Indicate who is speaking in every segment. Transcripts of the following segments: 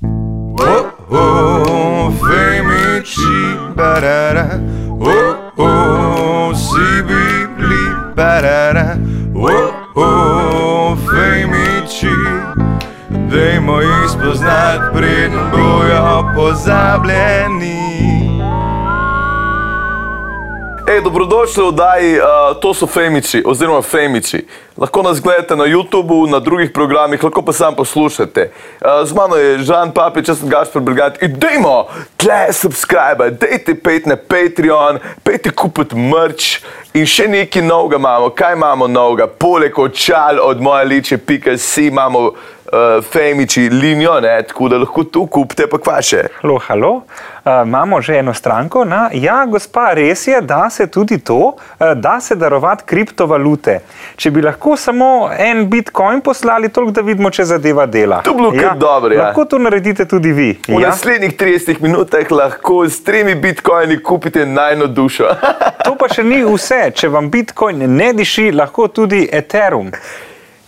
Speaker 1: Oh, parara, oh oh, si bibli parara, oh oh, fejmiči, dajmo jih spoznat, preden bojo pozabljeni.
Speaker 2: Ej, dobrodošli v oddaji, uh, to so Femiči, oziroma Femiči. Lahko nas gledate na YouTubu, na drugih programih, lahko pa sam poslušate. Uh, z mano je Žan Papič, jaz sem Gašpor Brigant in dajmo, tle subscribe, dajte pet na Patreon, pejte kupiti merch in še nekaj novega imamo. Kaj imamo novega? Poleg očal od moje liče, pika si imamo uh, Femiči linijo, ne? tako da lahko tu kupite pa kvaše.
Speaker 3: Halo, halo. Uh, imamo že eno stranko. Na, ja, gospa, res je, da se tudi to, uh, da se darovati kriptovalute. Če bi lahko samo en bitcoin poslali, toliko da vidimo, če zadeva dela.
Speaker 2: To bi bilo kar dobro, ja.
Speaker 3: Lahko to naredite tudi vi.
Speaker 2: V ja. naslednjih 30 minutah lahko s tremi bitcoini kupite najno dušo.
Speaker 3: To pa še ni vse. Če vam bitcoin ne diši, lahko tudi Ethereum.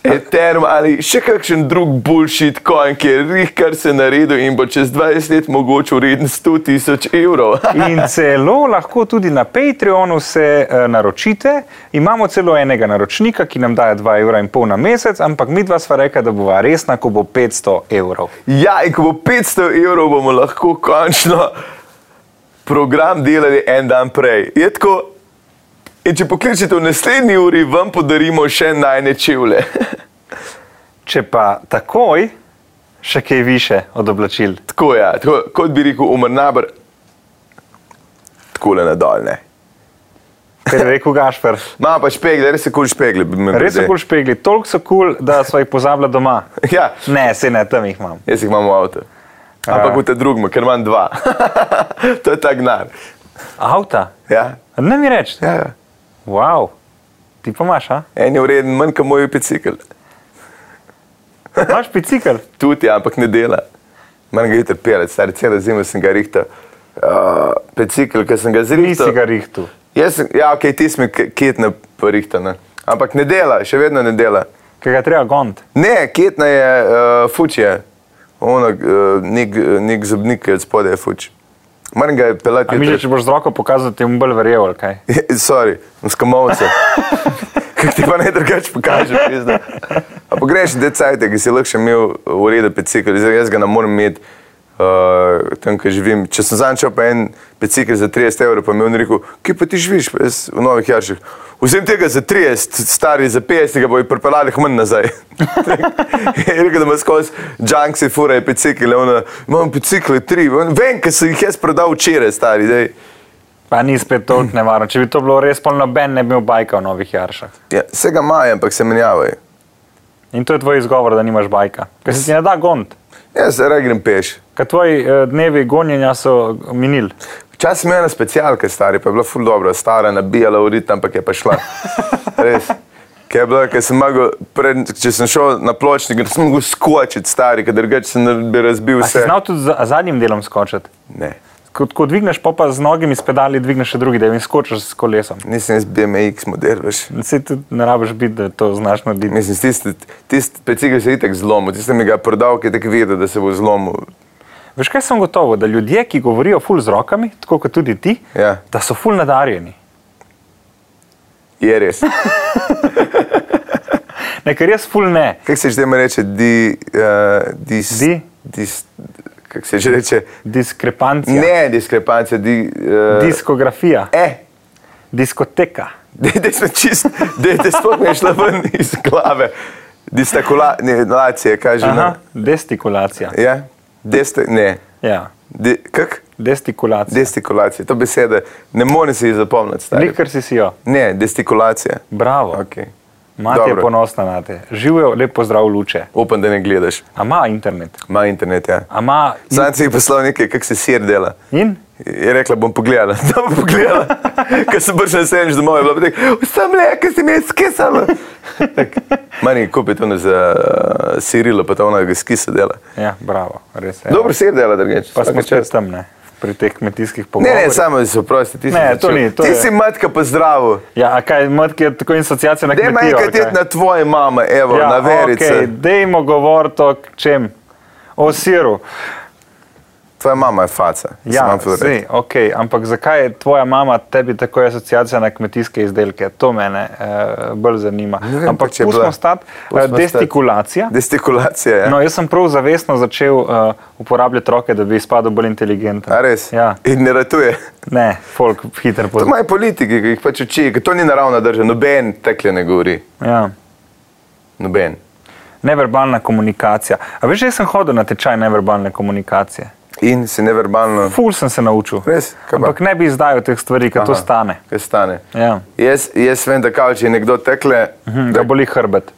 Speaker 2: Ethereum ali še kakšen drug bullshit coin, ki je rih kar se naredil in bo čez 20 let mogoče vreden 100 tisoč evrov.
Speaker 3: In celo lahko tudi na Patreonu se uh, naročite. Imamo celo enega naročnika, ki nam daje 2,5 evra in pol na mesec, ampak mi dva sva rekla, da bova resna, ko bo 500 evrov.
Speaker 2: ja, in ko bo 500 evrov, bomo lahko končno program delali en dan prej. Je tako, in če pokličete v naslednji uri, vam podarimo še najne čevlje.
Speaker 3: Če pa takoj, še kaj više od oblačil.
Speaker 2: tako je, ja, tako, kot bi rekel, umrnabr, tako le nadalje.
Speaker 3: Ker je rekel Gašper,
Speaker 2: Ma pa špegle, res je kul špegle. bi me
Speaker 3: res so
Speaker 2: pride.
Speaker 3: kul cool špegli, toliko so kul, cool, da so jih pozabila doma.
Speaker 2: Ja,
Speaker 3: Ne, se ne, tam jih imam.
Speaker 2: jaz jih imam v avtu. Ampak
Speaker 3: Ja.
Speaker 2: v te drugem, ker imam dva. to je ta gnar.
Speaker 3: Avta?
Speaker 2: Ja,
Speaker 3: Ne mi reči.
Speaker 2: ja, ja.
Speaker 3: Wow. Ti pa imaš, a?
Speaker 2: En je vreden manj kot moj bicikl.
Speaker 3: Imaš bicikl?
Speaker 2: Tudi, ja, ampak ne dela. Manj ga je trpelec, stari celo zimo sem ga rihtal. Uh, bicikl, ki sem ga
Speaker 3: Ti si
Speaker 2: zrihtal.
Speaker 3: ga rihtu.
Speaker 2: Jaz, sem- ja, ok, ti smo kitne porihtane. Ampak ne dela, še vedno ne dela.
Speaker 3: Kaj ga je treba gond?
Speaker 2: Ne, kitna je uh, fučje. Ono, uh, nek, nek zobnik, ki je od spodaj je fuč. Manj ga je pelati.
Speaker 3: A misliš, če boš z roko pokazal, ti bom bolj verjel, ali kaj?
Speaker 2: Sorry, skamovce. Kaj ti pa ne drugače pokažeš, pizda. Ampak greš decajte, ki si lahko še imel ureda pecikl, zdaj jaz ga ne morem imeti. Uh, tam, kjer živim. Če sem zančal pa en pecikl za 30 evrov, pa mi je on rekel, kje pa ti živiš, pa jaz v Novih Jarših. Vzem tega za 30, stari za 50, ga bojo pripeljali k meni nazaj. je rekel, da ima skozi junk se fura, je pecikl, ona, imam pecikle tri, vem, ker sem jih jaz prodal včeraj, stari. Dej.
Speaker 3: Pa ni spet toliko nevarno. Če bi to bilo res polno, noben ne bi imel bajka v novih jaršah.
Speaker 2: Ja, vsega imajo, ampak se menjavajo.
Speaker 3: In to je tvoj izgovor, da nimaš bajka. Ker se ti ne da gond.
Speaker 2: Jaz raje Ja, grem peš.
Speaker 3: Ker tvoji eh, dnevi gonjenja so minili.
Speaker 2: Včasih sem imel ena specialka, stari, pa je bila ful dobro, stara, nabijala v ritem, ampak je pa šla. Res. Ker je bilo, ker sem mogel, pred, če sem šel na pločnik, sem mogel skočiti, stari, ker drugače sem ne bi razbil
Speaker 3: A si
Speaker 2: vse.
Speaker 3: znal tudi za zadnjim delom skočiti?
Speaker 2: Ne,
Speaker 3: Ko, ko dvigneš, pa, pa z nogami s pedali dvigneš še drugi del in skočiš s kolesom.
Speaker 2: nisem jaz BMX model, veš.
Speaker 3: Se tudi ne rabiš biti, da to znaš narediti.
Speaker 2: Mislim, tisti, tisti pecik se je itek zlomil, tisti mi ga je prodal, ki je tako videl, da se bo zlomil.
Speaker 3: Veš kaj sem gotovo, da ljudje, ki govorijo ful z rokami, tako kot tudi ti,
Speaker 2: Ja.
Speaker 3: da so ful nadarjeni.
Speaker 2: Je res.
Speaker 3: Ne, ker jaz ful ne.
Speaker 2: Kako se že temu reče, di, uh, dis,
Speaker 3: Di?
Speaker 2: dis, kako se že reče?
Speaker 3: Diskrepancija.
Speaker 2: Ne, diskrepancija, di, uh,
Speaker 3: Diskografija,
Speaker 2: Eh,
Speaker 3: diskoteka.
Speaker 2: da smo čist, da te sploh ne šla ven iz glave. Distakulacije, kaže.
Speaker 3: Aha, destikulacija.
Speaker 2: Ja, deste, ne.
Speaker 3: Ja,
Speaker 2: De, kak?
Speaker 3: destikulacija.
Speaker 2: Destikulacija, to besede, ne more se jih zapomniti. stari.
Speaker 3: Likar si si jo.
Speaker 2: Ne, destikulacija.
Speaker 3: Bravo.
Speaker 2: Okay.
Speaker 3: Mati je
Speaker 2: Dobro.
Speaker 3: ponosna na te. Živijo, lepo zdrav luče.
Speaker 2: Upam, da ne gledaš.
Speaker 3: A ima internet?
Speaker 2: Ma internet, ja.
Speaker 3: A ima in?
Speaker 2: Zanci je poslal nekaj, kak se sir dela.
Speaker 3: in?
Speaker 2: Je rekla, bom pogledala, da bom pogledala. Ker sem prišla na sedem domov, je bila pa tako, vsem le, ker si mi je skisala. Tak, Mani kupi to za uh, Sirilo, pa to ona ga skisa dela.
Speaker 3: Ja, bravo, res je.
Speaker 2: Dobro sir dela, drugače.
Speaker 3: pa smo
Speaker 2: svaka
Speaker 3: še
Speaker 2: čast.
Speaker 3: tam, ne? Pri teh kmetijskih
Speaker 2: Ne,
Speaker 3: pogovorih.
Speaker 2: ne, samo se oprosti, ti si.
Speaker 3: Ne,
Speaker 2: začel.
Speaker 3: to ni, to
Speaker 2: ti
Speaker 3: je-
Speaker 2: si matka pa zdravo.
Speaker 3: Ja, a kaj, matke je tako insociacija na
Speaker 2: Dej
Speaker 3: kmetijo.
Speaker 2: me
Speaker 3: ali
Speaker 2: enkrat
Speaker 3: kaj?
Speaker 2: iti na tvoje mame, evo,
Speaker 3: ja,
Speaker 2: na verice.
Speaker 3: Okay, dejmo govoriti o k- čem? O siru.
Speaker 2: Tvoja mama je faca.
Speaker 3: Ja,
Speaker 2: zdaj.
Speaker 3: zdaj, okay, ampak zakaj je tvoja mama tebi tako asociacija na kmetijske izdelke? To mene uh, bolj zanima.
Speaker 2: Ne vem,
Speaker 3: ampak
Speaker 2: pač je
Speaker 3: pustimo
Speaker 2: bila.
Speaker 3: stati,
Speaker 2: Pustimo
Speaker 3: uh,
Speaker 2: stati. ja.
Speaker 3: gestikulacija.
Speaker 2: Gestikulacija je.
Speaker 3: No, jaz sem prav zavestno začel uh, uporabljati roke, da bi izpadel bolj inteligenten.
Speaker 2: A res?
Speaker 3: Ja.
Speaker 2: In ne ratuje.
Speaker 3: Ne, folk hiter
Speaker 2: To
Speaker 3: pozna.
Speaker 2: imajo politiki, ki jih pač uči, ker to ni naravna drža, noben tekle ne govori,
Speaker 3: Ja.
Speaker 2: noben.
Speaker 3: Neverbalna komunikacija. A veš, jaz sem hodil na tečaj neverbalne komunikacije.
Speaker 2: In si neverbalno.
Speaker 3: Ful sem se naučil.
Speaker 2: Res? Kaj pa?
Speaker 3: Ampak ne bi izdajal teh stvari, ker to
Speaker 2: Aha,
Speaker 3: stane.
Speaker 2: Kaj stane?
Speaker 3: Ja.
Speaker 2: Jaz, jaz vem, da kao, če je nekdo tekle,
Speaker 3: Hm, Da boli hrbet.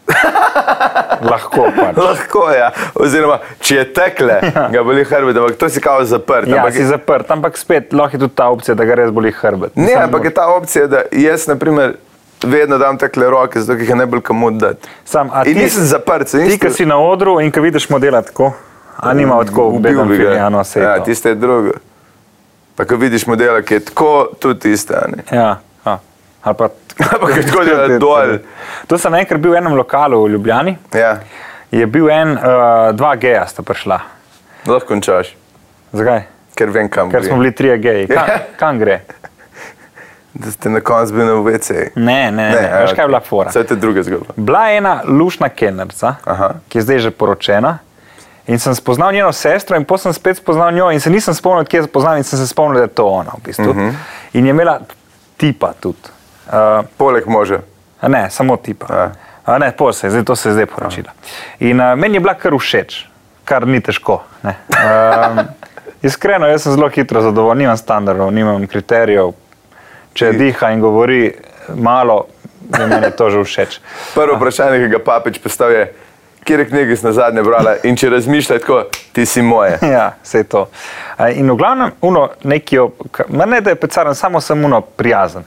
Speaker 3: Lahko pač.
Speaker 2: lahko je, ja. oziroma če je tekle, ja. ga boli hrbet, ampak to si kao zaprt.
Speaker 3: Ja,
Speaker 2: ampak,
Speaker 3: si zaprt, ampak spet lahko je tudi ta opcija, da ga res boli hrbet.
Speaker 2: ne,
Speaker 3: Samo-
Speaker 2: ampak je ta opcija, da jaz naprimer, vedno dam tekle roke, zato ker jih je najbolj komu dati.
Speaker 3: Sam, a
Speaker 2: In
Speaker 3: ti-
Speaker 2: nisem zaprt, se
Speaker 3: Ti, ki si na odru in ki vidiš modela tako, a nima tako
Speaker 2: ubil
Speaker 3: obeden
Speaker 2: bi ga.
Speaker 3: filijano se.
Speaker 2: Ja, tiste je drugo. Pa ko vidiš modela, ki je tako, tudi tiste. a ne.
Speaker 3: Ja, ja. ali pa
Speaker 2: Ampak je tako, da je dol.
Speaker 3: To sem enkrat bil v enem lokalu v Ljubljani,
Speaker 2: Ja,
Speaker 3: je bil en, uh, dva geja sta prišla.
Speaker 2: lahko končaš,
Speaker 3: Zakaj?
Speaker 2: ker vem, kam
Speaker 3: Ker
Speaker 2: gre.
Speaker 3: smo bili trije geji. Kam, kam gre?
Speaker 2: Da ste na koncu bili na VC.
Speaker 3: Ne, ne,
Speaker 2: ja,
Speaker 3: ne. ne. Veš, kaj je bila fora?
Speaker 2: Vse te druge zgodbe.
Speaker 3: Bila je ena lušna kenerica,
Speaker 2: Aha.
Speaker 3: ki je zdaj že poročena. In sem spoznal njeno sestro, in potem sem spet spoznal njo, in se nisem spomnil, kje je spoznal, in sem se spomnil, da je to ona. V bistvu. uh -huh. In je imela tipa tudi. Uh,
Speaker 2: Poleg moža.
Speaker 3: A Ne, samo tipa.
Speaker 2: Ja.
Speaker 3: A Ne, pol se, je, zdaj, to se je zdaj poročila. In a, meni je bila kar všeč, kar ni težko. ne. Um, iskreno, jaz sem zelo hitro zadovoljen, nimam standardov, nimam kriterijev. Če diha in govori malo, je meni to že všeč.
Speaker 2: Prvo vprašanje, ki ga papeč postavlja, je, kje knjige si na zadnje brala in če razmišlja tako, ti si moje.
Speaker 3: Ja, vse to. A, In v glavnem, uno, nekijo, ne da je pecaren, samo sem uno prijazen.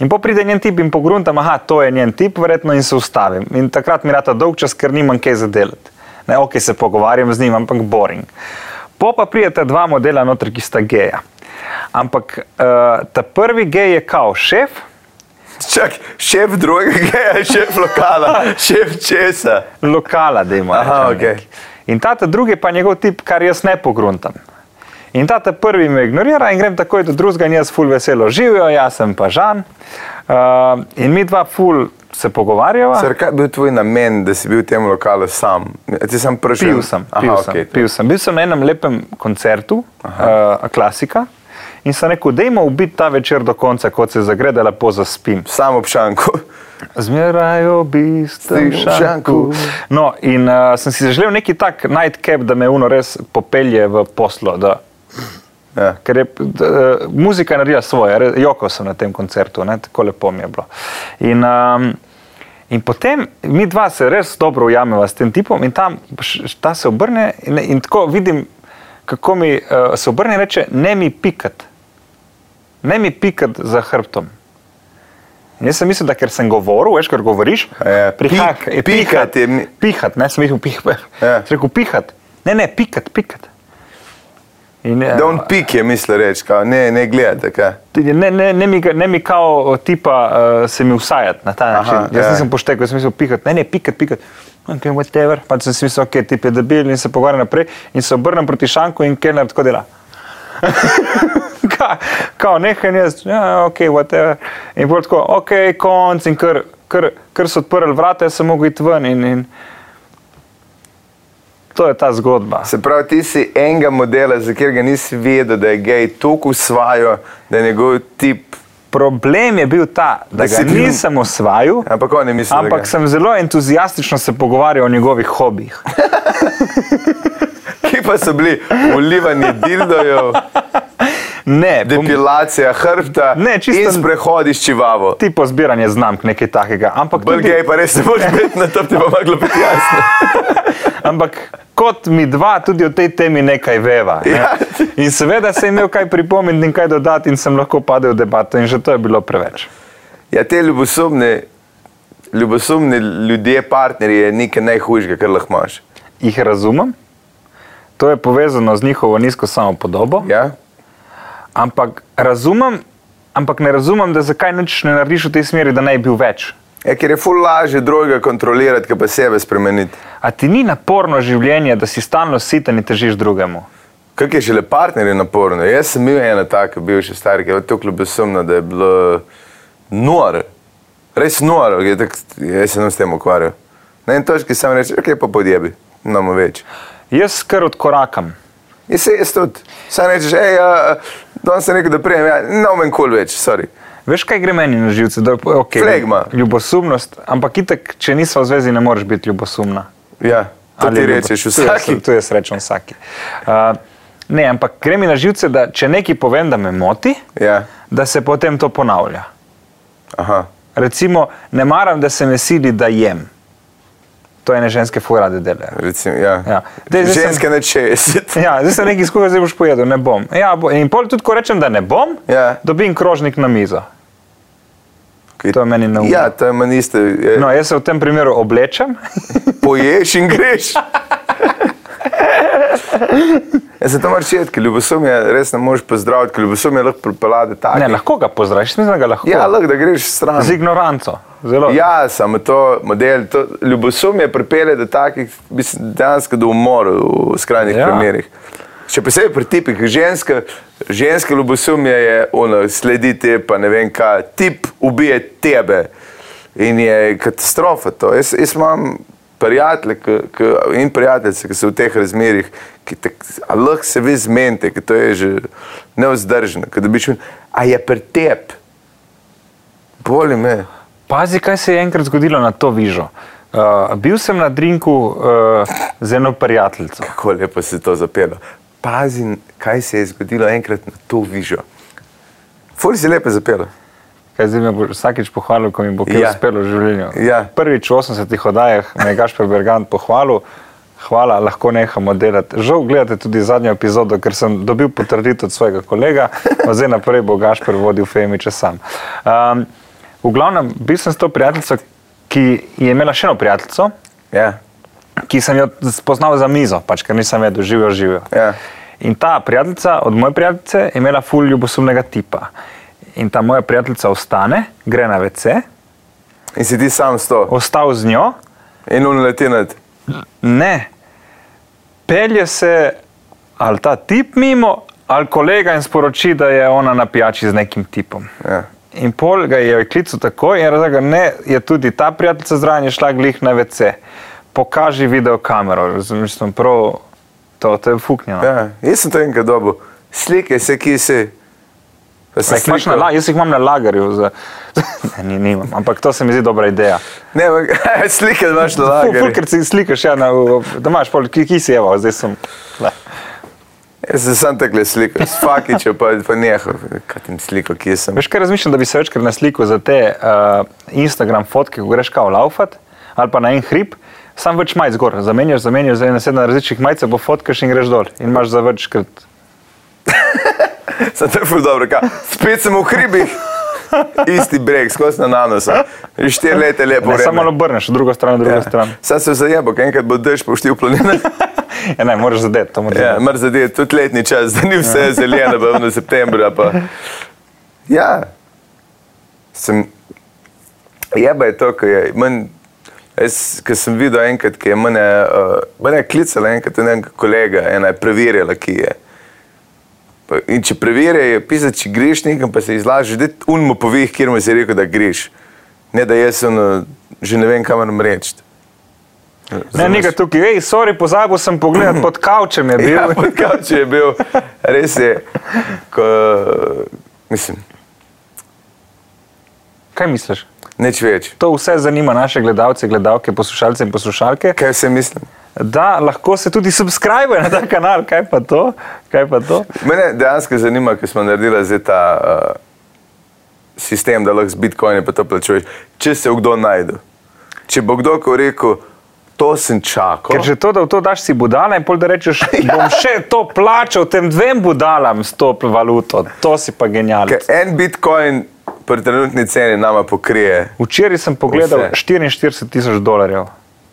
Speaker 3: In po pride njen tip in pogruntam, aha, to je njen tip, verjetno in se ustavim. In takrat mi rata dolg čas, ker nimam kaj za delati. Ne, ok, se pogovarjam z njim, ampak boring. Po pa prideta dva modela noter, ki sta geja. Ampak uh, ta prvi gej je kao šef,
Speaker 2: Čak, šef drugega je šef lokala, šef česa.
Speaker 3: lokala, da ima.
Speaker 2: Aha, ok.
Speaker 3: In ta ta drugi pa je njegov tip, kar jaz ne pogruntam. In ta ta prvi me ignorira in grem takoj do drugega in jaz ful veselo živijo, jaz sem pa žan. Uh, in mi dva ful se pogovarjava.
Speaker 2: Sar, kaj je bil tvoj namen, da si bil v tem lokalu sam? A Ti sem prišel.
Speaker 3: Pil sem,
Speaker 2: Aha,
Speaker 3: pil, Aha, sem,
Speaker 2: okej.
Speaker 3: okay, pil sem. Bil sem na enem lepem koncertu, uh, klasika. In sem rekel, dajmo ubiti ta večer do konca, kot se zagreda, lepo zaspim.
Speaker 2: Sam občanko.
Speaker 3: Zmeraj
Speaker 2: Stim
Speaker 3: obistim
Speaker 2: šanku.
Speaker 3: šanku. No, in uh, sem si zaželel neki tak nightcap, da me uno res popelje v poslo. Da,
Speaker 2: Ja.
Speaker 3: ker je da, eh, muzika naredila svoje, re- jokal sem na tem koncertu, ne, tako lepo mi je bilo. In, um, in potem mi dva se res dobro ujameva s tem tipom in tam š- š- ta se obrne in, in tako vidim, kako mi uh, se obrne in reče, ne mi pikat, ne mi pikat za hrbtom. In jaz sem mislil, da ker sem govoril, veš, ker govoriš,
Speaker 2: Ja,
Speaker 3: prihaja-
Speaker 2: pik-
Speaker 3: eh,
Speaker 2: pikat je mi-
Speaker 3: pihat, ne sem mislil pihat,
Speaker 2: Ja.
Speaker 3: sem rekel pihat, ne, ne, pikat, pikat. In, eh,
Speaker 2: Don Pik je mislil reči, kao, ne, ne gledate. Kaj.
Speaker 3: Tudi Ne, ne, ne, mi, ga- ne mi kao tipa uh, se mi usajati na ta način. Aha, Jaz
Speaker 2: ja.
Speaker 3: ja. nisem poštekal, jaz sem mislil pikati, ne, ne, pikati, pikati. Okay, whatever. Pa sem si mislil, ok, tip je debil in se pogovarja naprej in se obrnem proti šanku in Kellner tako dela. Ka, kao nekaj jaz, ja, ok, whatever. In bolj tako, ok, konc in ker, ker, ker so odprli vrata, jaz sem mogel iti ven in, in to je ta zgodba.
Speaker 2: Se pravi, ti si enega modela, za katerega nisi vedel, da je gej, toliko usvajo, da je njegov tip.
Speaker 3: Problem je bil ta, da
Speaker 2: Da si
Speaker 3: ga
Speaker 2: bil-
Speaker 3: nisem osvajal.
Speaker 2: Ampak on je mislil, da
Speaker 3: Ampak
Speaker 2: ga-
Speaker 3: sem zelo entuzijastično se pogovarjal o njegovih hobijih.
Speaker 2: ki pa so bili ulivani dildojev,
Speaker 3: Ne, bom-
Speaker 2: depilacija hrbta
Speaker 3: Ne, čisto-
Speaker 2: in sprehodi s čivavo.
Speaker 3: tipo zbiranje znamk, nekaj takega. Ampak,
Speaker 2: Bolj
Speaker 3: tudi,
Speaker 2: gej pa res ne moreš biti na tem, ti pa malo biti jasno.
Speaker 3: ampak kot mi dva, tudi o tej temi nekaj veva. Ne?
Speaker 2: Ja.
Speaker 3: In seveda sem imel kaj pripomniti in kaj dodati, in sem lahko padel v debato, in že to je bilo preveč.
Speaker 2: Ja, te ljubosumne, ljubosumne ljudje, partnerji je nekaj najhujšega, kar lahko imaš.
Speaker 3: Jih razumem, to je povezano z njihovo nizko samopodobo.
Speaker 2: Ja?
Speaker 3: Ampak razumem, ampak ne razumem, da zakaj nič ne narediš v tej smeri, da naj bi bil več.
Speaker 2: Ja, ker je ful lažje drugega kontrolirati, kot pa sebe spremeniti.
Speaker 3: A ti ni naporno življenje, da si stalno siten in težiš drugemu?
Speaker 2: Kak je šele partnerje naporno? Jaz sem imel eno tako bivše starke, ki je tako ljubezumna, da je bilo nor, res nor, ki je tako, jaz sem s tem ukvarjal. Na eni točki sem rekel, ok, pa podjebi, imamo več.
Speaker 3: Jaz kar odkorakam.
Speaker 2: In se jaz tudi, sam rečeš, hej, uh, danes sem rekel, da prijem, ja, ne omen kul več, sorry.
Speaker 3: Veš, kaj gre meni na živce? Da, okay,
Speaker 2: Flegma.
Speaker 3: Ljubosumnost, ampak itek, če nisva v zvezi, ne moreš biti ljubosumna.
Speaker 2: Ja, to
Speaker 3: Ali
Speaker 2: ti
Speaker 3: je ljubo-
Speaker 2: rečeš,
Speaker 3: To je-
Speaker 2: vsaki.
Speaker 3: To je srečen vsaki. Uh, ne, ampak gre mi na živce, da če nekaj povem, da me moti,
Speaker 2: Ja,
Speaker 3: da se potem to ponavlja.
Speaker 2: aha.
Speaker 3: Recimo, ne maram, da se me sili, da jem. To ene ženske furade delajo.
Speaker 2: Recimo, ja.
Speaker 3: Ja.
Speaker 2: ja.
Speaker 3: Daj, zdaj sem-
Speaker 2: Ženske na 60.
Speaker 3: Ja, zdaj sem nekaj skuhal, zdaj boš pojedel, ne bom. Ja, bo, in pol tudi, ko rečem, da ne bom,
Speaker 2: Ja.
Speaker 3: dobim krožnik na mizo.
Speaker 2: Okay.
Speaker 3: To je meni neumno.
Speaker 2: Ja, to je meni isto. eh,
Speaker 3: No, jaz se v tem primeru oblečem,
Speaker 2: Poješ in greš. Ja, zato moraš četi, ker ljubosumje res ne moreš pozdraviti, ker ljubosumje lahko pripelade tako.
Speaker 3: ne, lahko ga pozdraviš, mislim, da ga lahko.
Speaker 2: Ja, lahko da greš stran.
Speaker 3: Z ignoranco. Zelo.
Speaker 2: Ja, samo to model, to ljubosumje pripelje do takih, mislim, dejansko do umora v skrajnih
Speaker 3: Ja.
Speaker 2: ja. primerih. Še posebej pri tipih, ženska, ženska ljubosumje je ono, sledi te, pa ne vem kaj, tip ubije tebe in je katastrofa to. Jaz, jaz imam prijatelje k, k, in prijateljice, ki so v teh razmerih, ki tak, a lahko se vi zmenite, ker to je že neozdržno, ker dobiš, min- a je pri tebi, boli me.
Speaker 3: Pazi, kaj se je enkrat zgodilo na to vižo. Uh, bil sem na drinku uh, z eno prijateljico.
Speaker 2: Kako lepo si to zapelo. Pazi, kaj se je zgodilo enkrat na to vižo. Ful si lepo zapelo.
Speaker 3: Kaj zdaj me bo vsakič pohvalil, ko mi bo kaj ja.
Speaker 2: Ja.
Speaker 3: uspelo v življenju.
Speaker 2: Ja.
Speaker 3: Prvič v 80-ih oddajah me je Gašper Bergant pohvalil. Hvala, lahko nehamo delati. Žal gledate tudi zadnjo epizodo, ker sem dobil potrditev od svojega kolega, od zdaj naprej bo Gašper vodil Femiče sam. Um, v glavnem, bil sem s to prijateljico, ki je imela še eno prijateljico,
Speaker 2: Ja.
Speaker 3: ki sem jo spoznal za mizo, pač, ker nisem vedel, živijo, živijo.
Speaker 2: Ja.
Speaker 3: In ta prijateljica od moje prijateljice je imela ful ljubosumnega tipa. In ta moja prijateljica ostane, gre na WC,
Speaker 2: In si ti sam sto
Speaker 3: ostal z njo,
Speaker 2: in on leti nad.
Speaker 3: ne, pelje se ali ta tip mimo, ali kolega in sporoči, da je ona na pijači z nekim tipom.
Speaker 2: Ja.
Speaker 3: In pol ga je klical takoj in razlagal, ne, je tudi ta prijateljica zraven je šla glih na WC. Pokaži video kamero, razumem, sem prav, to, to je fuknjeno. Ja,
Speaker 2: Ja. Jaz sem to enkrat dobil. Slike se, ki si. Pa sem
Speaker 3: jih imaš na,
Speaker 2: slikal.
Speaker 3: la- jaz jih imam na lagerju, za, ne, ni, nimam, ampak to se mi zdi dobra ideja.
Speaker 2: Ne, ampak slike imaš na
Speaker 3: Ful- Ful,
Speaker 2: lagerju.
Speaker 3: ker si slikaš, ja, na, v- da imaš pol, ki, ki si evo, zdaj sem. Le.
Speaker 2: Jaz sem sam takle slikal. S fakičem pa, pa nehal. Kaj ti sliko, kje sem.
Speaker 3: Veš, kaj razmišljam, da bi se večkrat naslikal za te uh, Instagram fotke, ko greš kao laufat ali pa na en hrib, sam več majc gor, zamenjaš, zamenjaš, zdaj na sedem različnih majcev, bo fotkaš in greš dol in imaš za večkrat.
Speaker 2: Sem te ful dobro, kaj. Spet sem v hribih. Isti breg, skozi na nanosa. Že štiri leta je lepo.
Speaker 3: Ne,
Speaker 2: vreme.
Speaker 3: samo malo obrneš, drugo stran, drugo ja. stran.
Speaker 2: Sam se zajebo, ker enkrat bo dež poštil planine.
Speaker 3: Ja, ne, moraš zadeti, to moraš.
Speaker 2: ja,
Speaker 3: zadeti.
Speaker 2: mar zadeve, tudi letni čas, da ni vse zeleno, pa v septembru. Pa. Ja, sem, jeba je to, kar je. Man, jaz, ker sem videl enkrat, ki je mene, uh, mene je klicala enkrat, ena kolega, ena je preverjala, ki je. Pa, in če preverijo, je pisati, če greš nekam, pa se izlažeš, da un mu poveš, kjer mu si rekel, da greš. Ne, da jaz ono, že ne vem, kam moram reči.
Speaker 3: Ne, nekaj tukaj, hej, sorry, pozabil sem pogled pod kavčem je bil.
Speaker 2: Ja, pod kavčem je bil, res je. Ko, mislim,
Speaker 3: Kaj misliš?
Speaker 2: nič več.
Speaker 3: To vse zanima naše gledalce, gledalke, poslušalce in poslušalke,
Speaker 2: Kaj se mislim?
Speaker 3: da lahko se tudi subskrbijo na ta kanal, kaj pa to, kaj pa to.
Speaker 2: Mene dejansko zanima, ker smo naredili zdaj ta uh, sistem, da lahko z bitcoini pa to plačuješ, če se bo kdo najde. Če bo kdo ko rekel, to sem čakal.
Speaker 3: Ker že to, da v to daš si budala in pol da rečeš,
Speaker 2: Ja.
Speaker 3: bom še to plačal tem dvem budalam s to valuto, to si pa
Speaker 2: Ker
Speaker 3: genialno.
Speaker 2: en bitcoin pri trenutni ceni nama pokrije.
Speaker 3: Včeraj sem pogledal
Speaker 2: Vse.
Speaker 3: 44 tisoč dolarjev.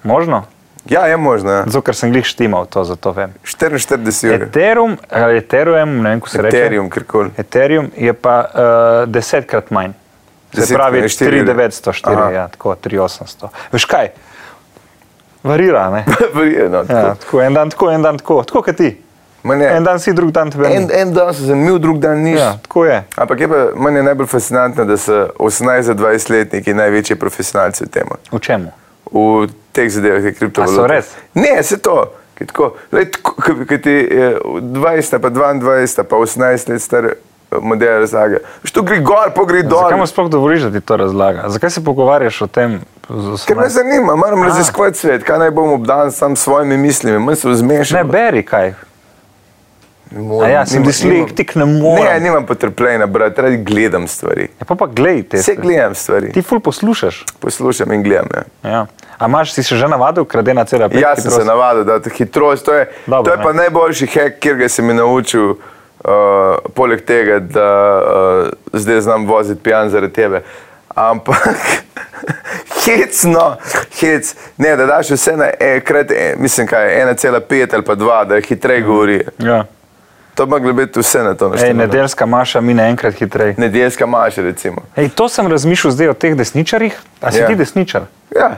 Speaker 3: Možno?
Speaker 2: Ja, je možno. ja.
Speaker 3: Zato, ker sem glih štimal to, zato vem.
Speaker 2: 44 ur.
Speaker 3: Ethereum, ali Ethereum, ne vem, kako se reče.
Speaker 2: Ethereum, karkoli.
Speaker 3: Ethereum je pa uh, desetkrat manj. Se
Speaker 2: Desetkrat,
Speaker 3: pravi,
Speaker 2: ne, eh, štiri-
Speaker 3: 3900,
Speaker 2: Aha.
Speaker 3: 4, ja, tako 3800. Veš kaj? Varira, Ja, ne?
Speaker 2: Verjetno.
Speaker 3: Ja, tako en dan, tako en dan, tako, tako kot ti.
Speaker 2: no, Ma ne.
Speaker 3: En dan si, drug dan tebe.
Speaker 2: En,
Speaker 3: ni.
Speaker 2: en dan si zanimiv, drug dan nisi.
Speaker 3: Ja, tako je.
Speaker 2: Ampak je pa meni je najbolj fascinantno, da so 18-20-letniki največji profesionalci v tem.
Speaker 3: V čemu?
Speaker 2: V teh zadevah je kriptovaluta.
Speaker 3: A so res?
Speaker 2: Ne, se to. Ki tako, lej, tako, ki- ki ti je 20, pa 22, pa 18 let star eh, model razlaga. Što gre gor, pa gre dol.
Speaker 3: Zakaj mu sploh dovoliš, da ti to razlaga? Zakaj se pogovarjaš o tem? z- z
Speaker 2: Ker me
Speaker 3: osemnajst-
Speaker 2: zanima, moram raziskovati svet, kaj naj bom obdan sam s svojimi mislimi, manj se vzmešam.
Speaker 3: Ne beri kaj.
Speaker 2: Ne morem,
Speaker 3: A ja, sem
Speaker 2: nimam-
Speaker 3: dislektik, ne
Speaker 2: nimam-
Speaker 3: morem.
Speaker 2: Ne, nimam potrpljenja, brat, rad gledam stvari.
Speaker 3: Ja, pa pa gledaj te.
Speaker 2: Vse
Speaker 3: stvari.
Speaker 2: gledam stvari,
Speaker 3: Ti ful poslušaš.
Speaker 2: poslušam in gledam. Ja.
Speaker 3: Ja. A imaš si se že navadil, kradena cela pet?
Speaker 2: Jaz Ja sem se navadil, da je hitrost, to je,
Speaker 3: Dobro,
Speaker 2: to je pa
Speaker 3: ne.
Speaker 2: najboljši hek, kjer ga sem naučil. Uh, poleg tega, da uh, zdaj znam voziti pijan zaradi tebe. Ampak hecno, hec, ne, da daš vse na enkrat, e, mislim, kaj 1,5 ali pa 2, da hitreje govori.
Speaker 3: Ja.
Speaker 2: To bi moglo biti vse na to
Speaker 3: Ej,
Speaker 2: naštevano.
Speaker 3: nedeljska maša mine enkrat hitreje.
Speaker 2: Nedeljska maša, recimo.
Speaker 3: Ej, to sem razmišljal zdaj o teh desničarjih. A si
Speaker 2: Ja.
Speaker 3: ti desničar?
Speaker 2: Ja,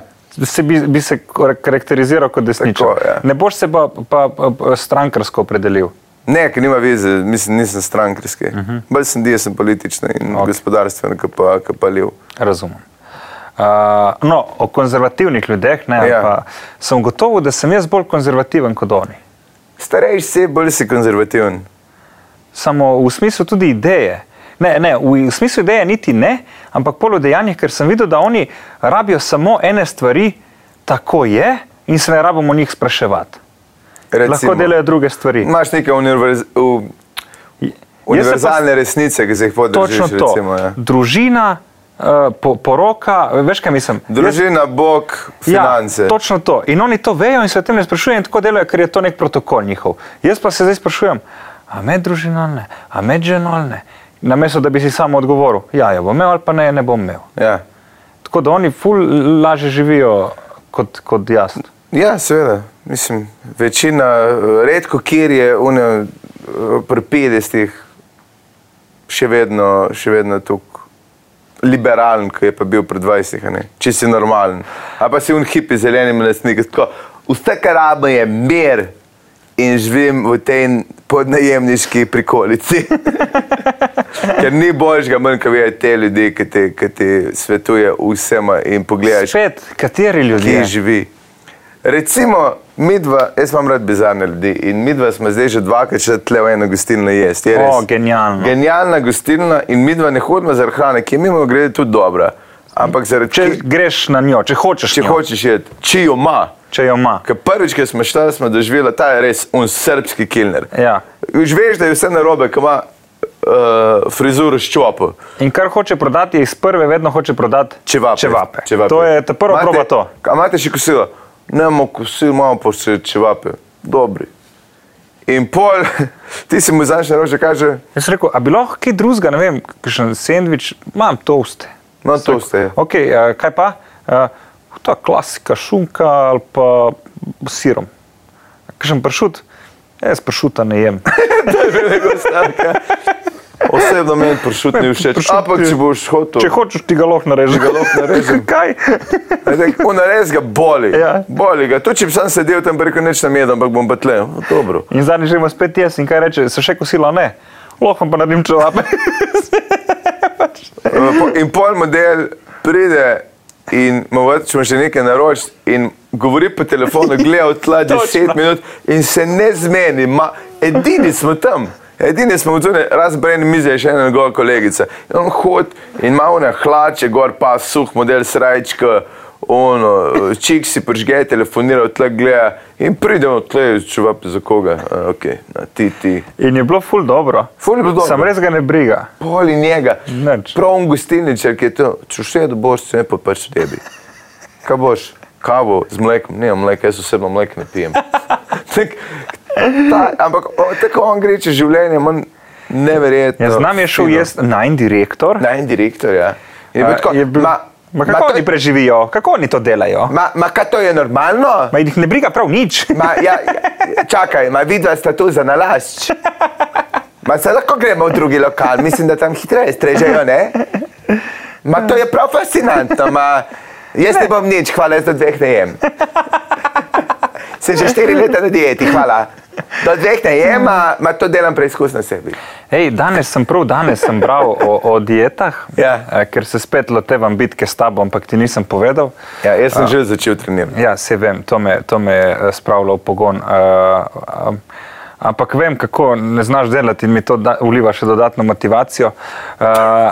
Speaker 3: Se bi, bi se kar- karakteriziral kot desničar.
Speaker 2: Tako, ja.
Speaker 3: Ne boš se pa, pa, pa strankarsko opredelil.
Speaker 2: ne, ker nima veze, mislim, nisem strankarski. Uh
Speaker 3: Mhm.
Speaker 2: -huh. Bolj sem desen politični in okay. gospodarstveni, kot pa, kot pa lev.
Speaker 3: Razumem. Uh, no, o konzervativnih ljudeh ne,
Speaker 2: Ja.
Speaker 3: ja. pa, sem gotovo, da sem jaz bolj konzervativen kot oni.
Speaker 2: Starejši si, bolj si konzervativen.
Speaker 3: Samo v smislu tudi ideje. Ne, ne, v, v smislu ideje niti ne, ampak pol v dejanjih, ker sem videl, da oni rabijo samo ene stvari, tako je, in se ne rabimo njih spraševati. Lahko delajo druge stvari.
Speaker 2: Imaš neke univerz, u, univerzalne pa... resnice, ki se jih podržiš.
Speaker 3: Točno to.
Speaker 2: Recimo, ja.
Speaker 3: Družina, eh, po, poroka, veš kaj mislim?
Speaker 2: Družina, bog, finance.
Speaker 3: Ja, točno to. In oni to vejo in se o tem ne sprašujejo in tako delajo, ker je to nek protokol njihov. Jaz pa se zdaj sprašujem, a med družinalne, a med ženolne. Namesto, da bi si samo odgovoril, ja, jo bom imel ali pa ne, ne bom imel.
Speaker 2: ja.
Speaker 3: Tako da oni ful lažje živijo kot, kot jaz.
Speaker 2: ja, seveda. Mislim, večina, eh, redko kjer je une, pri 50-ih še vedno, še vedno tako liberalen, kot je pa bil pred 20-ih, a ne? če si normalen. A pa si un hipi zelenim lesnikom, tako vse, kar rabim, je mir in živim v tej podnajemniški prikolici. Ker ni božjega manj, kot je te ljudi, ki ti, ki ti svetuje vsema in pogledaš,
Speaker 3: Spet, kateri
Speaker 2: kje
Speaker 3: ljudje?
Speaker 2: živi. Recimo, midva, jaz imam rad bizarne ljudi in midva smo zdaj že dvakrat šla tle v eno gostilno jesti. Je
Speaker 3: O,
Speaker 2: res-
Speaker 3: genialno.
Speaker 2: Genialna gostilna in mi dva ne hodimo zaradi hrane, ki je mimo grede tudi dobra. Ampak zaradi
Speaker 3: Če Ja.
Speaker 2: tega,
Speaker 3: greš na njo, če hočeš,
Speaker 2: če
Speaker 3: njo,
Speaker 2: hočeš jeti, če jo ima.
Speaker 3: če jo ima.
Speaker 2: Ker prvič, ko smo šli, smo doživeli, ta je res un srpski kilner.
Speaker 3: Ja.
Speaker 2: Že veš, da je vse narobe, ko ima uh, frizuro s čopom.
Speaker 3: In kar hoče prodati, iz prve vedno hoče prodati
Speaker 2: Čevape.
Speaker 3: čevape. To je ta prva
Speaker 2: Imate-
Speaker 3: proba to.
Speaker 2: A imate še kosilo? Ne, imamo kosilo, imamo pa še čevape. Dobri. In pol, ti si mu znaš na rože, kaže,
Speaker 3: Jaz sem rekel, a bi lahko kaj drugega, ne vem, kakšen sendvič, imam toaste.
Speaker 2: no to ste.
Speaker 3: Ok, eh, kaj pa? Eh, Ta klasika šunka ali pa s sirom. Kakšen pršut? Jaz pršuta ne jem.
Speaker 2: Osebno meni pršut ni všeč,
Speaker 3: Pršut
Speaker 2: ampak
Speaker 3: je-
Speaker 2: če boš hotel.
Speaker 3: Če hočeš, ti ga lahko narežeš.
Speaker 2: ga lahko narežem.
Speaker 3: kaj?
Speaker 2: Unares ga boli.
Speaker 3: Ja.
Speaker 2: Boli ga. Tudi če bi sam sedel tam, bi rekel, neč nam jedem, ampak bom pa tle. No, Dobro.
Speaker 3: In zadnji že ima spet jaz in kaj reče, se še kosila ne. Lahko vam pa naredim čevape.
Speaker 2: E, po- In pol model pride in mu vrčemo še nekaj naročiti in govori po telefonu, gleda od tla 10 minut in se ne zmeni. Ma, edini smo tam. Edini smo odzune, razen brejne mize je še ena njegova kolegica. In on hod in ima one hlače, gor pa suh model srajčka, ono, čik si pržge, telefonira od tla, gleda in pride od tla, čuvap za koga, A, ok, na, ti, ti.
Speaker 3: In je bilo ful dobro.
Speaker 2: Ful je bilo dobro.
Speaker 3: Sam res ga ne briga.
Speaker 2: Poli njega.
Speaker 3: Nič.
Speaker 2: Prav on gostilničar, ki je to, če še da boš, se ne pa pač rebi. Kaj boš? Kavo z mlekom, ne mleko, jaz osebno mleko ne pijem. tak, ta, ampak o, tako on gre čez življenje, manj neverjetno.
Speaker 3: Ja, z nami je šel
Speaker 2: fino.
Speaker 3: jaz, najn direktor.
Speaker 2: Najn direktor, ja. Je bil
Speaker 3: A,
Speaker 2: tako,
Speaker 3: je bil-
Speaker 2: ma,
Speaker 3: Ma
Speaker 2: to,
Speaker 3: kako oni preživijo, kako oni to delajo?
Speaker 2: ma, ma kaj to je normalno?
Speaker 3: Ma jih ne briga prav nič.
Speaker 2: Ma, ja, ja, čakaj, ma vidva sta tu za nalašč. Ma se lahko gremo v drugi lokal, mislim, da tam hitreje strežejo, ne? Ma to je prav fascinantno, ma jaz ne bom nič, hvala, jaz do dveh ne jem. Sem že štiri leta na dieti, hvala. Do dveh ne jema, ma to delam preizkus na sebi.
Speaker 3: Ej, danes sem prav, danes sem bral o, o dietah,
Speaker 2: Ja.
Speaker 3: eh, ker se spet lotevam bitke s tabo, ampak ti nisem povedal.
Speaker 2: Ja, jaz sem že začel trenirati.
Speaker 3: Ja, se vem, to me, to me je eh, spravilo v pogon. Uh, um, ampak vem, kako ne znaš delati in mi to da, vliva še dodatno motivacijo. Uh,